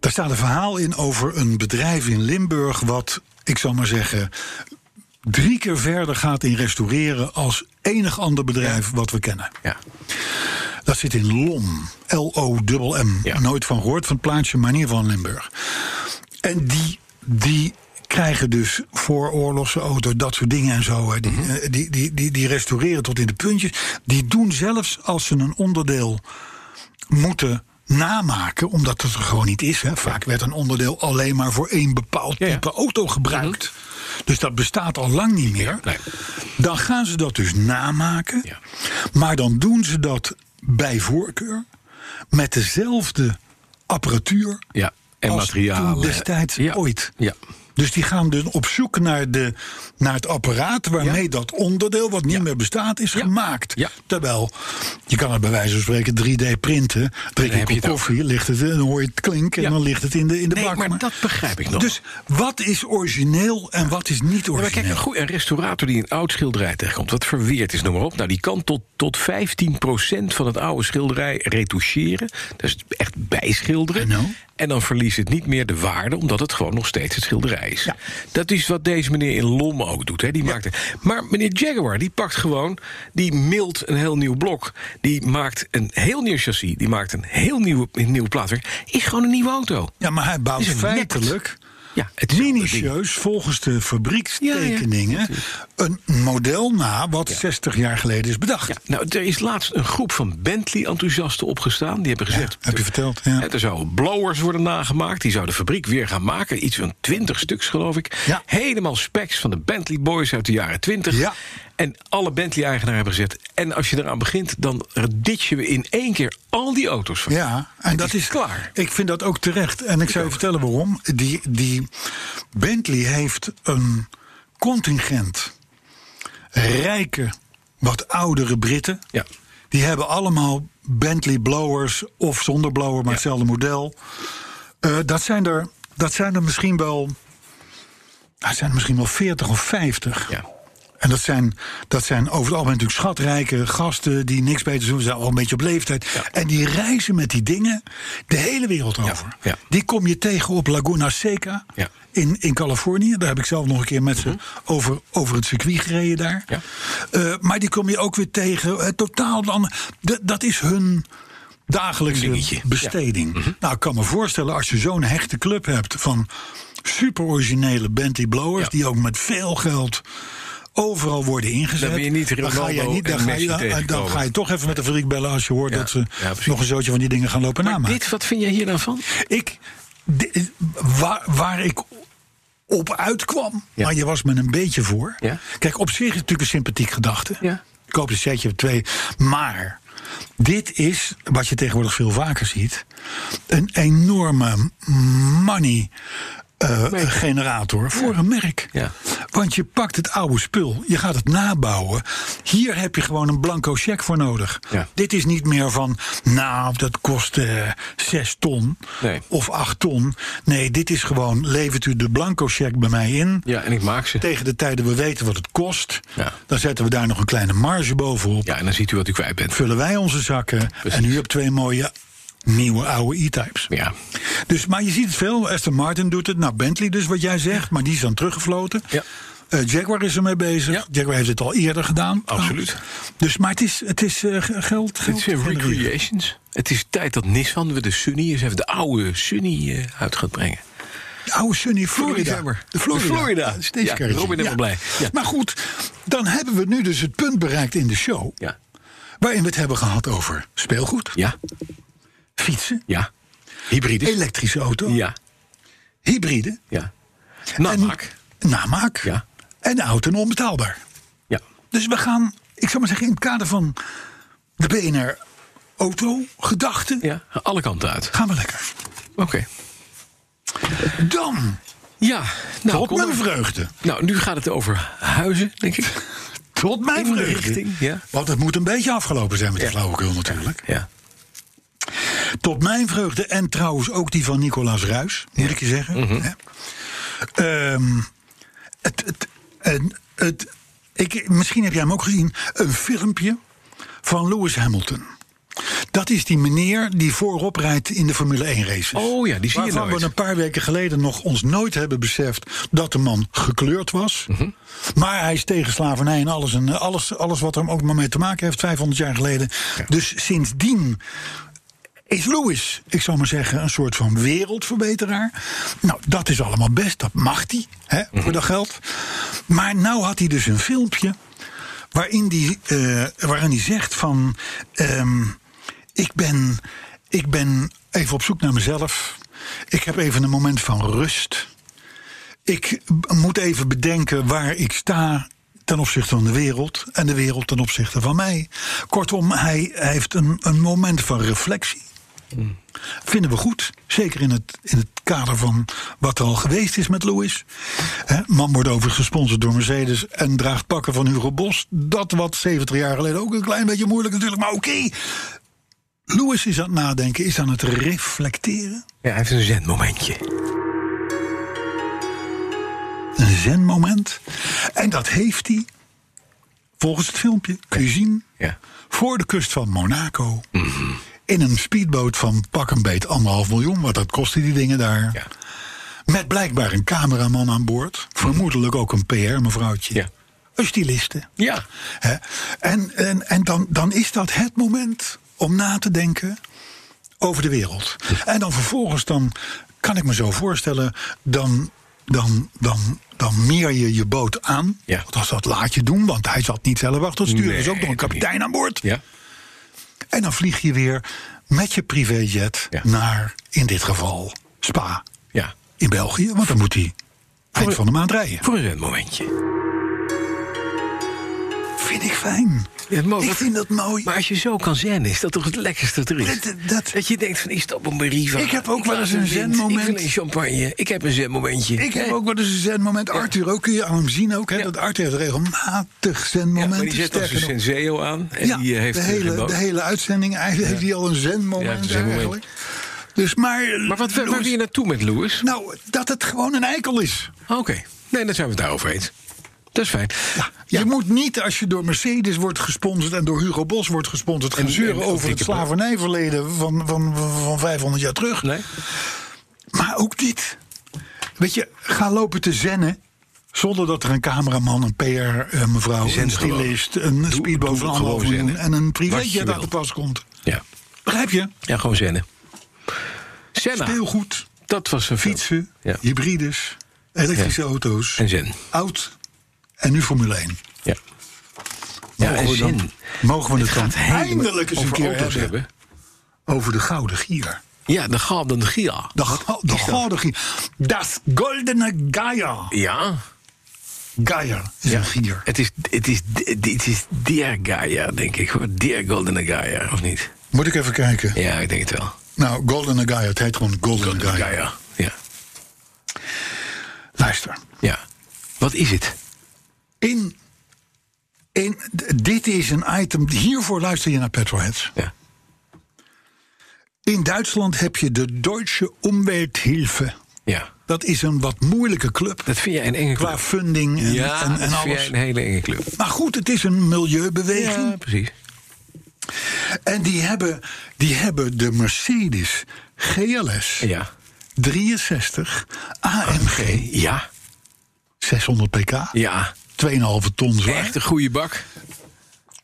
B: Daar staat een verhaal in over een bedrijf in Limburg... wat, ik zal maar zeggen, drie keer verder gaat in restaureren... als enig ander bedrijf wat we kennen.
C: Ja.
B: Dat zit in Lom. L-O-M-M.
C: Ja.
B: Nooit van gehoord van het plaatsje, maar in ieder geval in Limburg. En die, die krijgen dus voor oorlogse auto, dat soort dingen en zo. hè, Die,
C: Mhm.
B: eh, die, die, die, die restaureren tot in de puntjes. Die doen zelfs als ze een onderdeel moeten namaken, omdat het er gewoon niet is. Hè. Vaak werd een onderdeel alleen maar voor één bepaald
C: Ja, ja.
B: type auto gebruikt. Dus dat bestaat al lang niet meer.
C: Nee.
B: Dan gaan ze dat dus namaken.
C: Ja.
B: Maar dan doen ze dat bij voorkeur met dezelfde apparatuur
C: Ja. En
B: als
C: materialen.
B: toen destijds
C: Ja.
B: ooit.
C: Ja.
B: Dus die gaan dus op zoek naar, de, naar het apparaat waarmee
C: Ja.
B: dat onderdeel wat niet meer bestaat is
C: Ja.
B: gemaakt.
C: Ja.
B: Terwijl, je kan het bij wijze van spreken 3D printen. Drink
C: heb
B: een kop
C: je het ook.
B: koffie, ligt het, en dan hoor je het klinken
C: Ja.
B: en dan ligt het in de, in de
C: Nee,
B: bak.
C: maar dat begrijp ik nog.
B: Dus wat is origineel en wat is niet
C: Ja, maar kijk,
B: origineel?
C: een, goeie- een restaurator die een oud schilderij tegenkomt... wat verweerd is, noem maar op... Nou, die kan tot, tot 15% van het oude schilderij retoucheren. Dat is echt bijschilderen.
B: I know.
C: En dan verliest het niet meer de waarde... omdat het gewoon nog steeds het schilderij is.
B: Ja.
C: Dat is wat deze meneer in Lom ook doet. Hè. Die maakte... Maar meneer Jaguar, die pakt gewoon... die mailt een heel nieuw blok. Die maakt een heel nieuw chassis. Die maakt een heel nieuwe, een nieuwe plaatwerk. Is gewoon een nieuwe auto.
B: ja, maar hij bouwt
C: Is een
B: feitelijk...
C: Ja, het is
B: minutieus volgens de fabriekstekeningen een model na wat 60 jaar geleden is bedacht.
C: Ja, nou, er is laatst een groep van Bentley-enthousiasten opgestaan. Die hebben gezegd...
B: heb je verteld, ja.
C: Er zouden blowers worden nagemaakt. Die zou de fabriek weer gaan maken. Iets van twintig stuks, geloof ik.
B: Ja.
C: Helemaal specs van de Bentley Boys uit de jaren twintig.
B: Ja.
C: En alle Bentley-eigenaren hebben gezegd... en als je eraan begint, dan ditchen we in één keer al die auto's van je.
B: Ja, en dat
C: is
B: is
C: klaar.
B: Ik vind dat ook terecht. En ik zou je vertellen waarom. Die, die Bentley heeft een contingent rijke, wat oudere Britten.
C: Ja.
B: Die hebben allemaal Bentley blowers of zonder blower, maar hetzelfde model. Eh, dat, zijn er, dat zijn er misschien wel. nou, het zijn er misschien wel 40 of 50.
C: Ja.
B: En dat zijn, dat zijn over het algemeen natuurlijk schatrijke gasten die niks beters doen. Ze zijn al een beetje op leeftijd. En die reizen met die dingen de hele wereld over.
C: ja.
B: Die kom je tegen op Laguna Seca
C: Ja. Mhm.
B: in, in Californië. Daar heb ik zelf nog een keer met ze over, over het circuit gereden daar.
C: Ja.
B: Eh, maar die kom je ook weer tegen. eh, totaal een ander- D- dat is hun dagelijkse
C: Dingetje. Mhm.
B: besteding. Nou, ik kan me voorstellen als je zo'n hechte club hebt van super originele Bentley blowers
C: Ja.
B: die ook met veel geld overal worden ingezet.
C: Dan ben je niet
B: ga je
C: Ronaldo
B: niet, dan,
C: en
B: ga je,
C: Messi
B: dan- dan,
C: tegenkomen.
B: ga je toch even met de fabriek bellen als je hoort
C: Ja.
B: dat ze
C: Ja, precies.
B: nog een zootje van die dingen gaan lopen
C: Maar
B: namaken.
C: dit, wat vind jij hier nou van?
B: Ik, di- waar, waar ik op uitkwam,
C: Ja.
B: maar je was me een beetje voor.
C: Ja.
B: Kijk, op zich is het natuurlijk een sympathiek gedachte.
C: Ja.
B: Ik koop een setje of twee. Maar dit is, wat je tegenwoordig veel vaker ziet... een enorme money... eh, generator voor een merk.
C: Ja.
B: Want je pakt het oude spul, je gaat het nabouwen. Hier heb je gewoon een blanco cheque voor nodig.
C: Ja.
B: Dit is niet meer van, nou, dat kost eh 6 ton
C: Nee.
B: of 8 ton. Nee, dit is gewoon, levert u de blanco cheque bij mij in.
C: Ja, en ik maak ze.
B: Tegen de tijden we weten wat het kost.
C: Ja.
B: Dan zetten we daar nog een kleine marge bovenop.
C: Ja, en dan ziet u wat u kwijt bent.
B: Vullen wij onze zakken.
C: Precies.
B: En u hebt twee mooie nieuwe oude E-types.
C: Ja.
B: Dus, maar je ziet het veel. Aston Martin doet het. Nou, Bentley dus, wat jij zegt. Maar die is dan teruggefloten.
C: Ja.
B: Eh, Jaguar is ermee bezig.
C: Ja.
B: Jaguar heeft het al eerder gedaan.
C: Absoluut.
B: trouwens. Dus, maar het is, het is eh, ge- geld.
C: Het
B: geld
C: is weer
B: genereren.
C: Recreations. Het is tijd dat Nissan weer de Sunny eens even de oude Sunny eh, uit gaat brengen.
B: De oude Sunny
C: Florida.
B: Florida. De
C: De
B: Florida.
C: Florida.
B: De stagecarriage.
C: Ja, Robin is wel blij. Ja.
B: Maar goed, dan hebben we nu dus het punt bereikt in de show...
C: Ja.
B: waarin we het hebben gehad over speelgoed,
C: Ja.
B: fietsen,
C: Ja. Hybrides.
B: elektrische auto,
C: ja.
B: hybride,
C: Ja.
B: en
C: Namaak.
B: namaak
C: Ja.
B: en oud en onbetaalbaar.
C: Ja.
B: Dus we gaan, ik zou maar zeggen, in het kader van de BNR auto, gedachten,
C: Ja. Alle kanten uit.
B: gaan we lekker.
C: Oké.
B: Dan,
C: Ja. Nou,
B: tot
C: kom maar.
B: mijn vreugde.
C: nou, nu gaat het over huizen, denk ik.
B: Tot mijn
C: In de
B: vreugde.
C: richting, ja.
B: Want het moet een beetje afgelopen zijn met de flauwekul natuurlijk.
C: Ja.
B: Tot mijn vreugde en trouwens ook die van Nicolaas Ruis, moet ik je zeggen. hè. Ehm, het, het, en het, ik, misschien heb jij hem ook gezien, een filmpje van Lewis Hamilton. Dat is die meneer die voorop rijdt in de Formule 1 races.
C: Oh ja, die zie je
B: Waarvan
C: nooit.
B: we een paar weken geleden nog ons nooit hebben beseft dat de man gekleurd was.
C: Mhm.
B: Maar hij is tegen slavernij en alles, en eh, alles, alles wat er ook maar mee te maken heeft, 500 jaar geleden. Dus sindsdien is Lewis, ik zou maar zeggen, een soort van wereldverbeteraar. Nou, dat is allemaal best, dat mag hij, hè,
C: Mhm.
B: voor dat geld. Maar nou had hij dus een filmpje waarin die, eh, waarin die zegt van... ehm, ik, ben, ik ben even op zoek naar mezelf. Ik heb even een moment van rust. Ik b- moet even bedenken waar ik sta ten opzichte van de wereld... en de wereld ten opzichte van mij. Kortom, hij, hij heeft een, een moment van reflectie. Vinden we goed. Zeker in het, in het kader van wat er al geweest is met Lewis. Hè, man wordt overigens gesponsord door Mercedes en draagt pakken van Hugo Bos. Dat wat 70 jaar geleden ook een klein beetje moeilijk natuurlijk. Maar oké, Lewis is aan het nadenken, is aan het reflecteren.
C: Ja, hij heeft een zenmomentje.
B: Een zenmoment. En dat heeft hij, volgens het filmpje, kun je zien,
C: Ja. Mhm.
B: voor de kust van Monaco. In een speedboot van pak een beet anderhalf miljoen, want dat kostte die dingen daar.
C: Ja.
B: Met blijkbaar een cameraman aan boord. Vermoedelijk ook een PR-mevrouwtje.
C: Ja.
B: Een styliste.
C: Ja.
B: Hè? En, en, en dan, dan is dat het moment om na te denken over de wereld. En dan vervolgens, dan kan ik me zo voorstellen, dan, dan, dan, dan meer je je boot aan.
C: Ja.
B: Althans, dat laat je doen, want hij zat niet zelf achter het stuur.
C: Nee,
B: er is ook nog een kapitein aan boord.
C: Ja.
B: En dan vlieg je weer met je privéjet
C: Ja.
B: naar, in dit geval, Spa
C: Ja.
B: in België. Want dan moet hij eind van de maand rijden.
C: Voor een zenmomentje.
B: Vind ik fijn.
C: Ja, mooi.
B: ik vind dat mooi.
C: Maar als je zo kan zennen, is dat toch het lekkerste dat er is?
B: Dat- dat-
C: je denkt van, is dat een beriva?
B: Ik heb ook wel eens een
C: Ik
B: zenmoment.
C: wil een champagne. Ik heb een zenmomentje.
B: Ik heb
C: Hè?
B: ook wel eens een zenmoment. Arthur ook kun je aan hem zien ook. Hè,
C: Ja.
B: Dat Arthur heeft regelmatig
C: Ja,
B: zenmomenten.
C: maar die zet dan
B: Sterker
C: zijn
B: nog-
C: Senseo aan. En
B: ja,
C: die eh, heeft
B: de,
C: een
B: hele,
C: remote.
B: de hele uitzending eigenlijk heeft hij al een
C: Ja, het
B: zenmoment
C: is een moment.
B: eigenlijk. Dus maar,
C: Maar wat, waar, waar
B: Louis-
C: wil je naartoe met Lewis?
B: Nou, dat het gewoon een eikel is.
C: Oké. Nee, dan zijn we het daarover eens. Dat is fijn.
B: Je moet niet, als je door Mercedes wordt gesponsord... en door Hugo Bos wordt gesponsord... gaan
C: En-
B: zeuren
C: en-
B: over het
C: dikke bol.
B: slavernijverleden van, van, van, van 500 jaar terug.
C: Nee?
B: Maar ook dit. Weet je, ga lopen te zennen. Zonder dat er een cameraman, een PR-mevrouw,
C: Zen
B: een
C: gewoon.
B: stylist... een speedboot
C: doe
B: van
C: gewoon
B: anderhalf miljoen
C: zennen.
B: en een
C: Wat je
B: privéjet aan
C: wil.
B: de pas komt.
C: Ja.
B: Begrijp je?
C: Ja, nou. gewoon zennen. Senna.
B: Speelgoed,
C: Dat was een
B: fietsen,
C: Ja.
B: hybrides, elektrische auto's,
C: En zen.
B: oud en nu Formule 1.
C: Ja. Ja, en
B: we Oh, dan-
C: zen.
B: mogen we het,
C: gaat
B: dan
C: helemaal
B: eindelijk eens een
C: over
B: keer
C: auto's
B: hebben,
C: hebben.
B: over de gouden gier.
C: Ja, de Gouden Gia.
B: De, ga- de gouden gier. Das goldene Gaia.
C: Ja.
B: Gaia is een gier.
C: Het is, het is, het is Der Gaia, denk ik. hoor. Der Goldene Gaia, of niet?
B: Moet ik even kijken.
C: Ja, ik denk het wel.
B: Nou, Golden Gaia, het heet gewoon Golden, Gaia.
C: Gaia. Ja.
B: Luister.
C: ja. Wat is het?
B: In, in, d- dit is een item, hiervoor luister je naar Petroheads.
C: Ja.
B: In Duitsland heb je de Deutsche Umwelthilfe.
C: ja.
B: Dat is een wat moeilijke club.
C: Dat vind jij een enge
B: Qua
C: club.
B: funding en,
C: Ja,
B: en, en
C: dat vind
B: alles.
C: jij een hele enge club.
B: Maar goed, het is een milieubeweging.
C: Ja, precies.
B: En die hebben, die hebben de Mercedes GLS
C: Ja.
B: 63 AMG
C: Ja.
B: 600 pk.
C: Ja,
B: 2,5 ton zwaar.
C: echt een goede bak.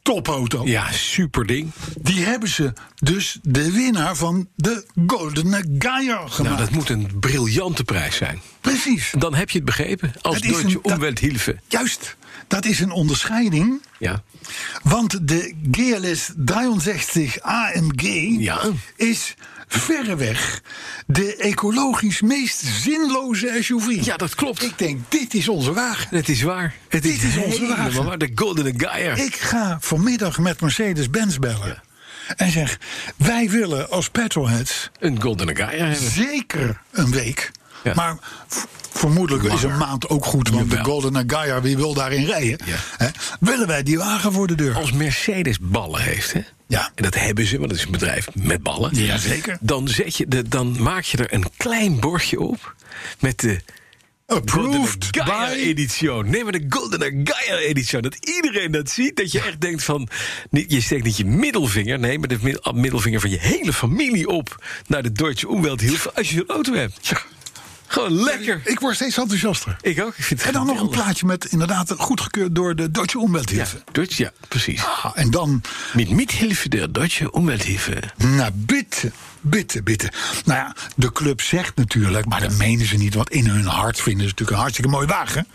B: topauto.
C: Ja, super ding.
B: Die hebben ze dus de winnaar van de Golden Geier
C: Nou,
B: gemaakt.
C: dat moet een briljante prijs zijn.
B: Precies.
C: Dan heb je het begrepen. Als
B: Dat is
C: Deutsche
B: een- dat-
C: Umwelthilfe.
B: Juist. Dat is een onderscheiding.
C: Ja.
B: Want de GLS 63 AMG
C: Ja.
B: is verreweg de ecologisch meest zinloze SUV.
C: ja, dat klopt.
B: Ik denk, dit is onze wagen.
C: Het is waar. Het
B: Dit is onze
C: helemaal
B: wagen.
C: waar. De Golden Geier.
B: Ik ga vanmiddag met Mercedes-Benz bellen. En zeg, wij willen als petrolheads
C: Een Golden Geier hebben.
B: zeker een week.
C: Ja.
B: Maar v- vermoedelijk is een maand ook goed. Want de
C: Jawel.
B: Golden Gaia, wie wil daarin rijden?
C: Ja.
B: Hè? Willen wij die wagen voor de deur?
C: Als Mercedes ballen heeft, hè?
B: Ja.
C: En dat hebben ze, want het is een bedrijf met ballen.
B: Ja, zeker.
C: Dan, zet je de, dan maak je er een klein bordje op met de
B: Approved
C: Golden Gaia
B: by...
C: edition. Nee, maar de Golden Gaia edition. Dat iedereen dat ziet. Dat je echt denkt van... niet- Je steekt niet je middelvinger. Nee, maar de mid- ah, middelvinger van je hele familie op... naar de Deutsche Umwelthilfe als je zo'n auto hebt. Gewoon lekker.
B: Ik word steeds enthousiaster.
C: Ik ook. Ik vind het
B: En dan nog een
C: geweldig.
B: plaatje met inderdaad goedgekeurd door de Duitse
C: Ja,
B: Umwelthilfe.
C: Deutsch, ja, precies.
B: Ah, en dan,
C: Met mithilfe der Deutsche Umwelthilfe.
B: nou bitte, bitte, bitte. Nou ja, de club zegt natuurlijk, maar dat menen ze niet... want in hun hart vinden ze natuurlijk een hartstikke mooi wagen.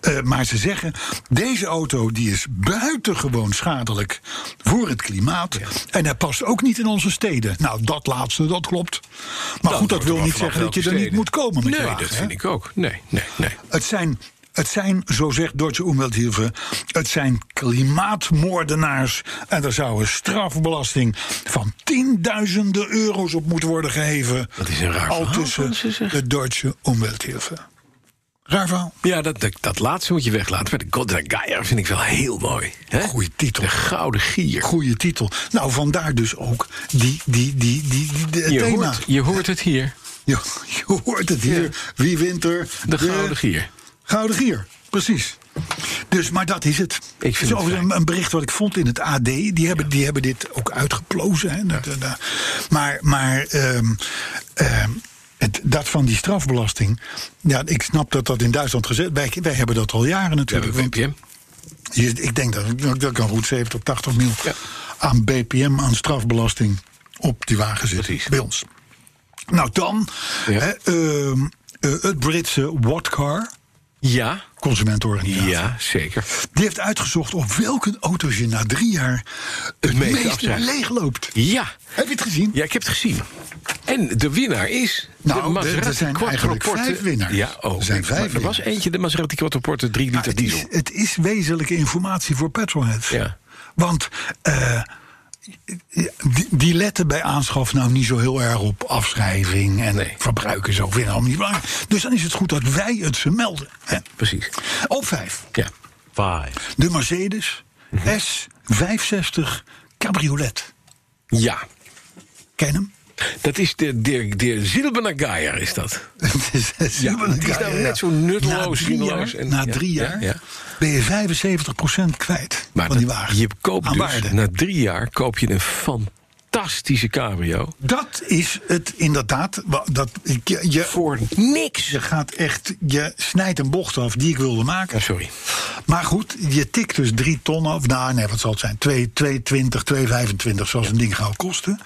B: Eh, maar ze zeggen, deze auto die is buitengewoon schadelijk voor het klimaat... en hij past ook niet in onze steden. Nou, dat laatste, dat klopt. Maar goed, dat wil niet zeggen dat je er niet moet komen met
C: nee,
B: je wagen.
C: dat
B: hè?
C: vind ik ook. Nee, nee, nee.
B: Het zijn, het zijn, zo zegt Deutsche Umwelthilfe, het zijn klimaatmoordenaars. En er zou een strafbelasting van tienduizenden euro's op moeten worden geheven.
C: Dat is een raar
B: Al
C: verhaal,
B: tussen
C: Fransen, zeg.
B: de Duitse Umwelthilfe. Raar verhaal.
C: Ja, dat, dat, dat laatste moet je weglaten. Maar de Golden Geier vind ik wel heel mooi. Hè?
B: Goeie titel.
C: De Gouden Gier.
B: Goeie titel. Nou, vandaar dus ook die, die, die, die, die, die- het
C: Je
B: thema.
C: hoort, je hoort het hier.
B: Je, je hoort het hier. Wie wint er?
C: De Gouden Gier.
B: Gouden Gier, precies. Dus, maar dat is het.
C: vind
B: Het is
C: het
B: overigens
C: fijn.
B: een, een bericht wat ik vond in het AD. Die hebben, die hebben dit ook uitgeplozen. Hè. Dat- dat- dat. Maar, maar ehm, ehm, het, dat van die strafbelasting. Ja, ik snap dat dat in Duitsland gezet. Wij, wij hebben dat al jaren natuurlijk.
C: Ja, BPM.
B: Je- ik denk dat dat kan goed 70 of 80 mil
C: Ja.
B: aan BPM, aan strafbelasting op die wagen zit.
C: Precies.
B: Bij ons. Nou, dan
C: Ja.
B: hè, ehm, eh, het Britse Watcar,
C: Ja,
B: consumentenorganisatie.
C: ja, zeker.
B: Die heeft uitgezocht op welke auto's je na drie jaar het
C: meeste
B: meest
C: afzuigt.
B: leeg loopt.
C: Ja.
B: Heb je het gezien?
C: ja, ik heb het gezien. En de winnaar is
B: Nou,
C: de
B: er-
C: Maserati
B: er zijn
C: Quattroporte.
B: eigenlijk vijf winnaars.
C: Ja, oh,
B: Er zijn vijf
C: maar er was
B: winnaars.
C: eentje, de Maserati Quattroporte 3
B: Maar
C: liter
B: Nou, het, is,
C: diesel.
B: het is wezenlijke informatie voor petrolheads.
C: Ja.
B: Want eh, die, die letten bij aanschaf nou niet zo heel erg op afschrijving en
C: Nee.
B: verbruik en zo. Vinden allemaal niet belangrijk. Dus dan is het goed dat wij het ze melden. hè.
C: Precies.
B: Op vijf.
C: Ja.
B: De Mercedes
C: Mhm.
B: S65 Cabriolet.
C: Ja.
B: Ken je hem?
C: Dat is de, de, de Zilberner Geier, is dat?
B: Het is, het is
C: Ja,
B: helemaal
C: het is
B: een-
C: nou net zo nutteloos,
B: Na drie
C: zinloos
B: jaar,
C: en-
B: na
C: ja,
B: drie
C: ja,
B: jaar
C: ja.
B: ben je 75% kwijt van die
C: dat-
B: wagen.
C: je koopt
B: aan
C: dus,
B: waarde.
C: na drie jaar koop je een fantastische cabrio.
B: Dat is het inderdaad. wa- Dat, ik- je, je,
C: Voor niks.
B: je gaat echt, je snijdt een bocht af die ik wilde maken.
C: sorry.
B: Maar goed, je tikt dus drie ton af. Nou, nee, wat zal het zijn? 2, 220, 225, zoals een ding gaat kosten.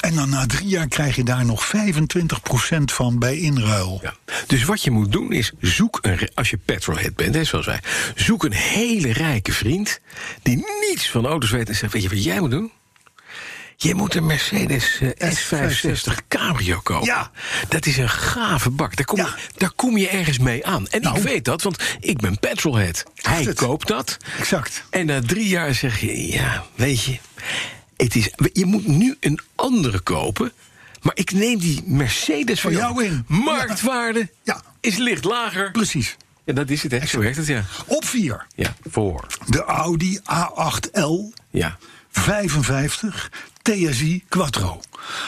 B: En dan na drie jaar krijg je daar nog 25% van bij inruil.
C: Ja. Dus wat je moet doen is zoek een, re- als je petrolhead bent, hè, zoals wij, zoek een hele rijke vriend die niets van auto's weet en zegt: Weet je wat jij moet doen? Je moet een Mercedes eh, S65 Cabrio kopen.
B: Ja.
C: Dat is een gave bak. Daar kom,
B: Ja.
C: je, daar kom je ergens mee aan. En
B: Nou.
C: ik weet dat, want ik ben petrolhead. Hij
B: het.
C: koopt dat.
B: Exact.
C: En na drie jaar zeg je, ja, weet je, het is, je moet nu een andere kopen. Maar ik neem die Mercedes van
B: Voor
C: jou
B: jou in.
C: Marktwaarde
B: Ja.
C: is licht lager.
B: Precies.
C: Ja, dat is het, hè? Zo werkt het, ja.
B: Op vier,
C: Ja, voor.
B: de Audi A8L
C: Ja. Oh,
B: 55 TSI Quattro.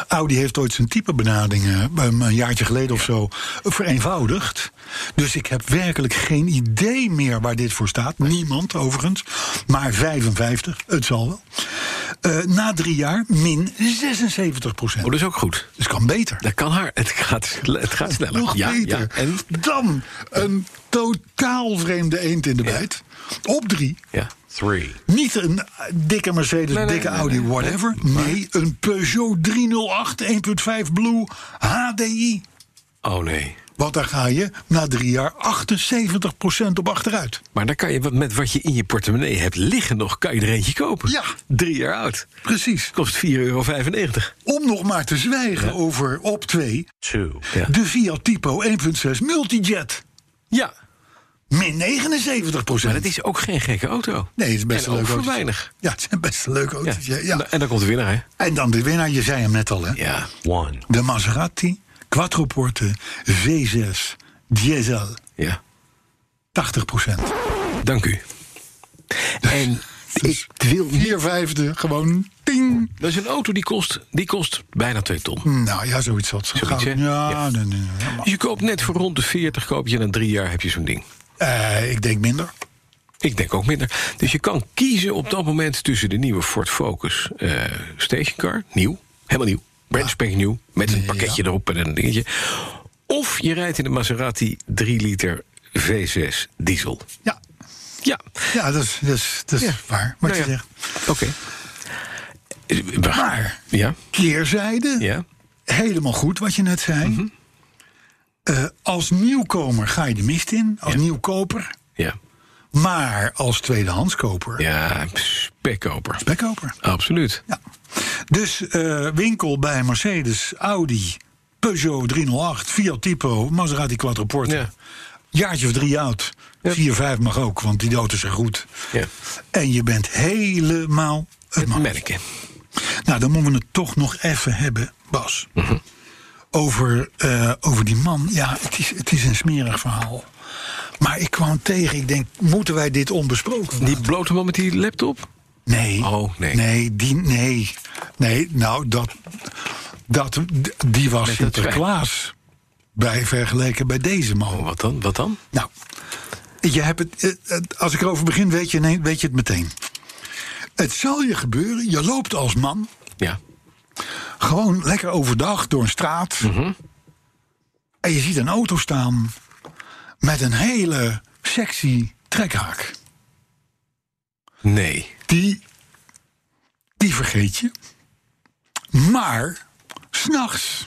B: Audi heeft ooit zijn typebenadingen um, een jaartje geleden of zo vereenvoudigd. Dus ik heb werkelijk geen idee meer waar dit voor staat. Niemand overigens. Maar 55, het zal wel. Eh, na drie jaar min 76 procent.
C: Oh, dat is ook goed.
B: Dus kan beter.
C: Dat kan haar. Het gaat, het gaat sneller.
B: Nog
C: ja,
B: beter.
C: Ja. En,
B: Dan een totaal vreemde eend in de
C: Ja.
B: bijt. Op drie.
C: ja. Three.
B: Niet een eh, dikke Mercedes,
C: Nee, nee,
B: dikke
C: nee,
B: Audi,
C: nee.
B: whatever. Nee, een Peugeot 308 1.5 Blue HDI.
C: Oh nee.
B: Want daar ga je na drie jaar 78% op achteruit.
C: Maar dan kan je wat- met wat je in je portemonnee hebt liggen nog, kan je er eentje kopen.
B: Ja.
C: Drie jaar oud.
B: Precies.
C: Kost 4,95 euro.
B: Om nog maar te zwijgen over op 2,
D: Two.
C: Ja.
B: de Fiat Tipo 1.6 Multijet.
C: ja.
B: Min 79
C: Maar dat is ook geen gekke auto.
B: Nee, het is best
C: En
B: een
C: ook
B: leuk
C: voor
B: autootje.
C: weinig.
B: Ja, het zijn best leuke auto's. Ja. Ja.
C: En dan komt de winnaar, hè?
B: En dan de winnaar, je zei hem net al, hè?
C: Ja.
D: One.
B: De Maserati Quattroporte V6 Diesel.
C: Ja.
B: 80
C: Dank u. En ik wil niet...
B: Vier vijfde, gewoon ting.
C: Dat is een auto die kost, die kost bijna 2 ton.
B: Nou ja, zoiets had ze
C: Zoiets,
B: gauw.
C: hè?
B: Ja,
C: Ja.
B: nee, nee, nee, maar-
C: Dus je koopt net voor rond de 40, koop je en na drie jaar heb je zo'n ding.
B: Eh, ik denk minder.
C: Ik denk ook minder. Dus je kan kiezen op dat moment tussen de nieuwe Ford Focus eh stationcar, nieuw, helemaal nieuw, brand spanking nieuw, met een pakketje erop en een dingetje. Of je rijdt in de Maserati 3 liter V6 diesel.
B: Ja,
C: Ja,
B: ja dat is, dat is, dat is
C: Ja.
B: waar. Wat
C: Nou
B: je
C: ja.
B: zegt.
C: oké. Eh, we gaan-
B: Maar
C: Ja,
B: keerzijde,
C: ja. Mhm.
B: helemaal goed wat je net zei. Eh, als nieuwkomer ga je de mist in, als
C: Ja.
B: nieuwkoper.
C: Ja,
B: Maar als tweedehandskoper,
C: ja, spekkoper.
B: spekkoper.
C: Absoluut.
B: Ja. Dus eh, winkel bij Mercedes, Audi, Peugeot 308, Fiat Tipo, Maserati Quattroporte.
C: Ja.
B: Jaartje of drie oud.
C: Ja.
B: Vier, vijf mag ook, want die doden zijn goed.
C: Ja.
B: En je bent helemaal het man.
C: Merken.
B: Nou, dan moeten we het toch nog even hebben, Bas.
C: Mhm.
B: Over, eh, over die man. Ja, het is, het is een smerig verhaal. Maar ik kwam tegen, ik denk, moeten wij dit onbesproken
C: Die
B: laten?
C: blote man met die laptop?
B: Nee.
C: Oh, nee.
B: Nee, die, nee. Nee, nou, dat, dat, die was
C: Met dat
B: Sinterklaas. Bij vergeleken bij deze man.
C: Oh, Wat dan? Wat dan?
B: Nou, je hebt het, eh, eh, als ik erover begin, weet je, nee, weet je het meteen. Het zal je gebeuren, je loopt als man
C: Ja.
B: gewoon lekker overdag door een straat.
C: Mhm.
B: En je ziet een auto staan met een hele sexy trekhaak.
C: Nee.
B: Die, die vergeet je. Maar s'nachts,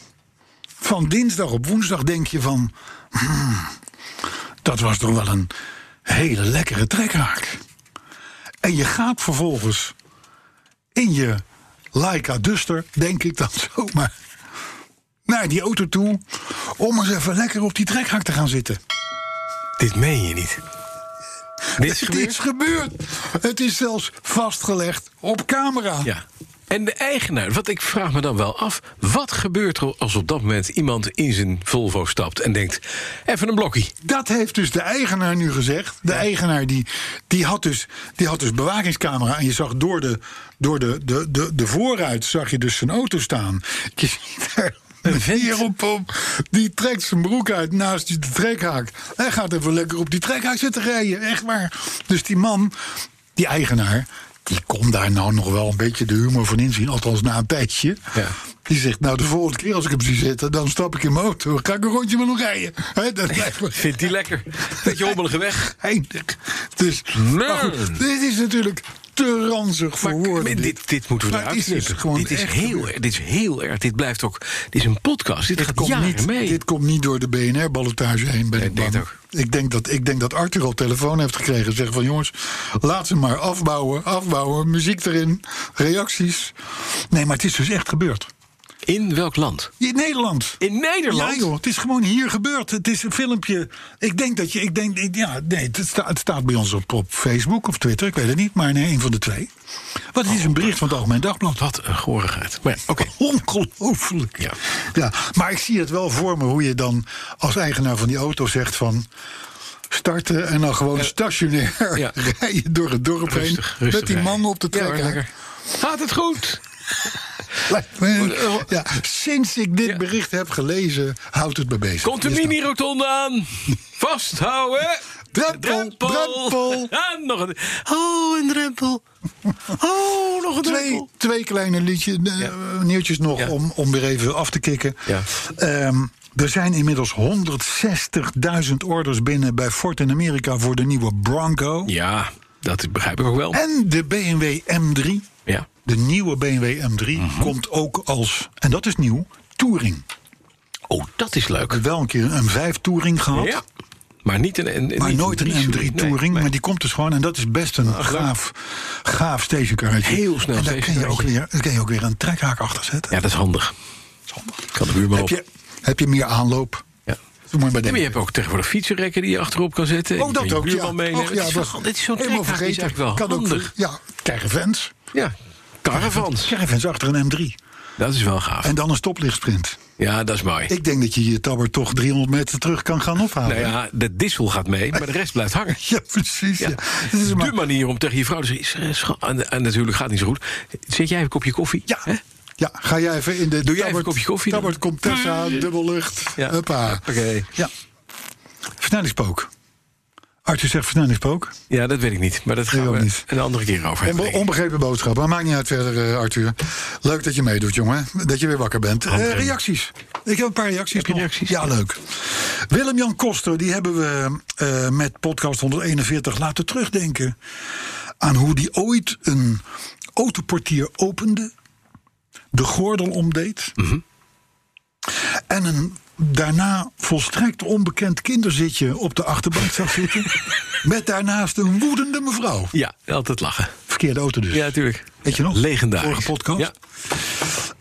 B: van dinsdag op woensdag, denk je van... "Hmm, dat was toch wel een hele lekkere trekhaak. En je gaat vervolgens in je Leica Duster, denk ik dan zomaar... naar die auto toe om eens even lekker op die trekhaak te gaan zitten.
C: Dit meen je niet. Dit is
B: Het
C: gebeurd?
B: is gebeurd. Het is zelfs vastgelegd op camera.
C: Ja. En de eigenaar, wat ik vraag me dan wel af... wat gebeurt er als op dat moment iemand in zijn Volvo stapt... en denkt, even een blokkie.
B: Dat heeft dus de eigenaar nu gezegd. De eigenaar die, die, had dus, die had dus bewakingscamera. En je zag door de, door de, de, de, de voorruit zag je dus zijn auto staan. Je ziet daar een heer op, op. Die trekt zijn broek uit naast de trekhaak. Hij gaat even lekker op die trekhaak zitten rijden. Echt waar. Dus die man, die eigenaar... Die kon daar nou nog wel een beetje de humor van inzien. Althans na een tijdje.
C: Ja.
B: Die zegt, nou de volgende keer als ik hem zie zitten... dan stap ik in mijn auto. Ga ik een rondje met hem rijden. Hè, dat lijkt me
C: Vindt die lekker? Beetje hommelige weg.
B: eindig. Dus,
C: Man.
B: maar goed, dit is natuurlijk te ranzig voor
C: Maar
B: woorden.
C: dit, dit, moeten we
B: Maar
C: eruit
B: het is dus
C: knippen.
B: gewoon
C: Dit is,
B: echt
C: heel,
B: gebeurd.
C: dit is heel erg. Dit blijft ook... Dit is een podcast. Dit,
B: Dit
C: gaat
B: komt,
C: jaren
B: niet,
C: mee.
B: dit komt niet door de BNR-ballotage heen, ben
C: Nee,
B: ik
C: ik denk
B: bang. Ik denk, dat, ik denk dat Arthur op telefoon heeft gekregen. en Zegt van jongens, laat ze maar afbouwen, afbouwen, muziek erin, reacties. Nee, maar het is dus echt gebeurd.
C: In welk land?
B: In Nederland.
C: In Nederland?
B: Ja joh, het is gewoon hier gebeurd. Het is een filmpje. Ik denk dat je, ik denk, ik- ja, nee, het, sta- het staat bij ons op, op Facebook of Twitter, ik weet het niet, maar nee, een van de twee. Want het is een bericht van het Algemeen Dagblad.
C: Wat een gorigheid. Maar ja, oké.
B: Ongelooflijk.
C: Ja.
B: Ja. maar ik zie het wel voor me hoe je dan als eigenaar van die auto zegt van... starten en dan gewoon stationair
C: ja.
B: rijden door het dorp
C: Rustig,
B: heen...
C: rustig
B: met die
C: rijden.
B: man op de
C: Ja,
B: trek.
C: lekker. Gaat het goed?
B: Lijkt me-
C: Eh,
B: ja, sinds ik dit
C: Ja.
B: bericht heb gelezen, houdt het me bezig.
C: Komt de
B: Dus dan-
C: mini-rotonde aan. Vasthouden.
B: Drempel, drempel.
C: Ah, nog een. Oh, een drempel. Oh, nog een
B: Twee,
C: druppel.
B: twee kleine liedje, eh, nieuwtjes nog
C: Ja.
B: om, om weer even af te kicken.
C: Ja.
B: Ehm, er zijn inmiddels 160.000 orders binnen bij Ford in Amerika voor de nieuwe Bronco.
C: Ja, dat begrijp ik ook wel.
B: En de BMW M3.
C: Ja.
B: De
C: Mhm.
B: nieuwe BMW M3 komt ook als, en dat is nieuw, Touring.
C: Oh, dat is
B: We
C: leuk.
B: hebben wel een keer een 5 Touring gehad.
C: Ja. Maar niet een, een,
B: Maar
C: niet
B: nooit een M3
C: nee,
B: Touring,
C: nee.
B: maar die komt dus gewoon. En dat is best een gaaf, gaaf stagecarretje.
C: Heel snel
B: En daar kun je, ook
C: stagecarretje.
B: weer, daar kun je ook weer een trekhaak achter zetten.
C: Ja, dat is handig. Kan de buurman
B: Heb,
C: op.
B: je, heb je meer aanloop?
C: Ja.
B: Doe maar bij
C: Ja, maar je
B: de
C: hebt ook tegenwoordig fietsenrekken die je achterop kan zetten.
B: Oh,
C: Die kan
B: dat
C: je
B: ook, ja.
C: buurman meenemen.
B: Och, ja,
C: dit, is
B: dat-
C: wel- dit is zo'n
B: helemaal
C: trekhaak, die is
B: vergeten.
C: eigenlijk wel
B: Kan ook,
C: handig.
B: ja, caravans.
C: ja, caravans.
B: Caravans achter een M3.
C: Dat is wel gaaf.
B: En dan een stoplichtsprint.
C: Ja, dat is mooi.
B: Ik denk dat je je tabber toch 300 meter terug kan gaan ophalen.
C: Nou ja, de dissel gaat mee, maar de rest blijft hangen.
B: Ja, precies. Ja.
C: Ja.
B: Dit is maar-
C: De manier om tegen je vrouw te zeggen... "Scha- En, en natuurlijk gaat het niet zo goed. Zet jij even een kopje koffie?
B: Ja.
C: Hè?
B: ja, ga jij even in de.
C: Doe jij even een kopje koffie dan?
B: Tabbert komt Tessa, dubbellucht.
C: Ja.
B: Huppa.
C: Hoppakee.
B: Ja. Versnellingspook. Arthur zegt versnellingspook.
C: Ja, dat weet ik niet. Maar dat
B: Ik
C: gaan
B: ook
C: we
B: niet.
C: een andere keer over
B: En
C: hebben.
B: be-
C: denk ik.
B: onbegrepen boodschap. Maar maakt niet uit verder, eh, Arthur. Leuk dat je meedoet, jongen. Dat je weer wakker bent. Eh,
C: Handrem.
B: reacties. Ik heb een paar reacties.
C: Heb je
B: nog.
C: reacties?
B: Ja, leuk. Willem-Jan Koster, die hebben we eh, met podcast 141 laten terugdenken. Aan hoe die ooit een autoportier opende. De gordel omdeed.
C: Mhm.
B: En een daarna volstrekt onbekend kinderzitje op de achterbank zag zitten. met daarnaast een woedende mevrouw.
C: Ja, altijd lachen.
B: Verkeerde auto dus.
C: Ja, natuurlijk.
B: Weet je nog?
C: Legendarisch.
B: Vorige podcast.
C: Ja.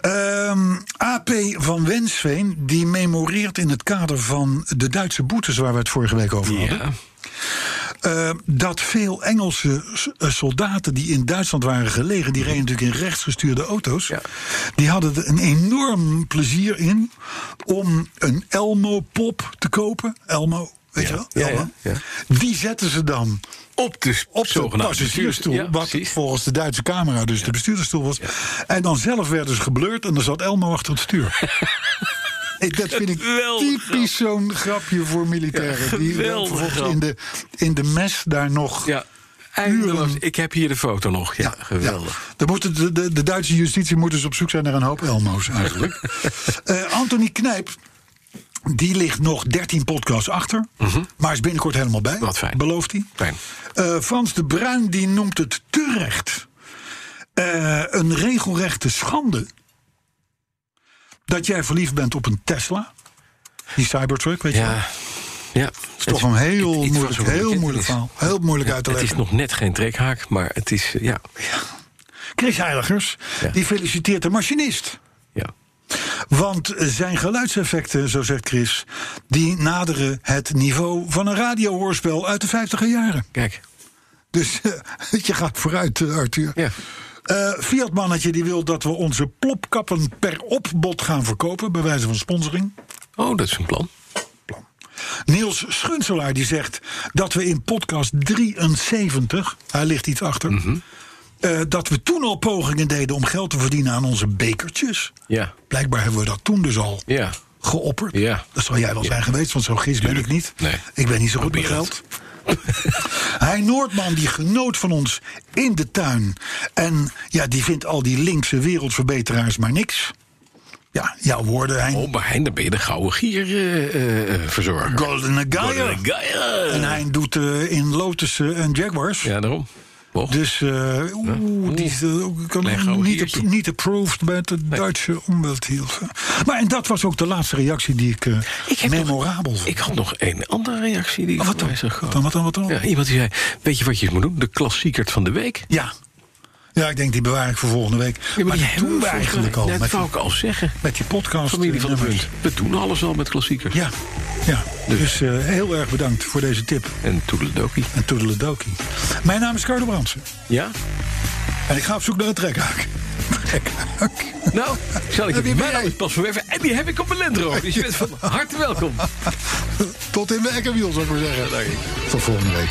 B: Ehm, AP van Wensveen, die memoreert in het kader van de Duitse boetes waar we het vorige week over hadden.
C: Ja.
B: eh, dat veel Engelse s- eh, soldaten die in Duitsland waren gelegen, die reden natuurlijk in rechtsgestuurde auto's,
C: Ja.
B: die hadden er een enorm plezier in om een Elmo-pop te kopen. Elmo, weet je wel?
C: ja,
B: Elmo.
C: ja,
B: Die zetten ze dan
C: Op de,
B: op de
C: zogenaamde
B: passagiersstoel,
C: bestuurder. Ja,
B: wat
C: precies.
B: volgens de Duitse camera dus de bestuurdersstoel was. En dan zelf werden ze gebleurd en dan zat Elmo achter het stuur. Eh, Dat vind ik
C: Geweldig
B: typisch zo'n grapje voor militairen.
C: Ja,
B: die wel
C: geweldig
B: vervolgens
C: grap.
B: in de, in de mes daar nog...
C: Ja, eindeloos. Ik heb hier de foto nog. Ja, geweldig.
B: ja. Dan moeten de, de, de Duitse justitie moet dus op zoek zijn naar een hoop Elmo's eigenlijk. Eh, Anthony Knijp, die ligt nog 13 podcasts achter. Maar is binnenkort helemaal bij.
C: Mhm. Wat fijn.
B: Belooft hij.
C: Fijn.
B: Eh, Frans de Bruin die noemt het terecht eh, een regelrechte schande dat jij verliefd bent op een Tesla. Die Cybertruck, weet je wel.
C: Ja. ja.
B: Dat is toch een heel
C: iets
B: moeilijk,
C: van zo'n
B: heel
C: weekend.
B: moeilijk
C: Het is-
B: verhaal. Heel moeilijk uit te
C: Het
B: leggen.
C: is nog net geen trekhaak, maar het is... eh, Ja.
B: Chris Heiligers,
C: Ja.
B: die feliciteert de machinist.
C: ja.
B: Want zijn geluidseffecten, zo zegt Chris, die naderen het niveau van een radiohoorspel uit de 50 jaren.
C: Kijk.
B: Dus eh, je gaat vooruit, eh, Arthur.
C: Ja.
B: Eh, Fiat-mannetje die wil dat we onze plopkappen per opbod gaan verkopen, bij wijze van sponsoring.
C: Oh, dat is een plan.
B: Niels Schunselaar die zegt dat we in podcast 73, hij ligt iets achter, eh, dat we toen al pogingen deden om geld te verdienen aan onze bekertjes.
C: Ja.
B: Blijkbaar hebben we dat toen dus al
C: Ja.
B: geopperd.
C: Ja.
B: Dat zal jij wel zijn geweest, want zo'n gids ben ik niet.
C: Nee.
B: Ik ben niet zo goed met
C: Probeer
B: geld. Hij Noordman, die genoot van ons in de tuin. En ja, die vindt al die linkse wereldverbeteraars maar niks. Ja, jouw woorden, Hein.
C: Oh, maar Hein, dan ben je de gouden gier eh, eh, eh, verzorger.
B: Goldene Gaier.
C: Gouden gier.
B: En Hein doet eh, in Lotussen en Jaguars.
C: Ja, daarom. Och.
B: Dus eh oeh, die is, eh, ook- kan
C: Klein gouden
B: niet,
C: diertje.
B: ap- niet approved bij de Duitse Umwelthilfe. Maar en dat was ook de laatste reactie die ik, eh,
C: Ik heb nog-
B: memorabel vond.
C: Ik had nog een andere reactie die ik
B: Oh, wat
C: van
B: dan?
C: mij zag.
B: Wat dan, wat dan, wat dan?
C: Ja, iemand die zei, weet je wat je eens moet doen? De klassiekert van de week.
B: Ja. Ja, ik denk die bewaar ik voor volgende week. maar die doen we eigenlijk al
C: Dat
B: met,
C: wou ik al zeggen.
B: met die podcast.
C: Familie van de
B: nummers.
C: Punt. We doen alles al met klassiekers.
B: Ja, ja. dus, eh, heel erg bedankt voor deze tip
C: En toedeledokie.
B: en toedeledokie. Mijn naam is Carlo Brandsen
C: Ja?
B: en ik ga op zoek naar een trekhaak. Trekhaak.
C: Nou, zal ik
B: Heb je
C: je
B: mij?
C: mijn naam is Pas van Werven en die heb ik op mijn Landro. Dus je bent van harte welkom.
B: Tot in de ekkerwiel, zou ik maar zeggen. Tot volgende week.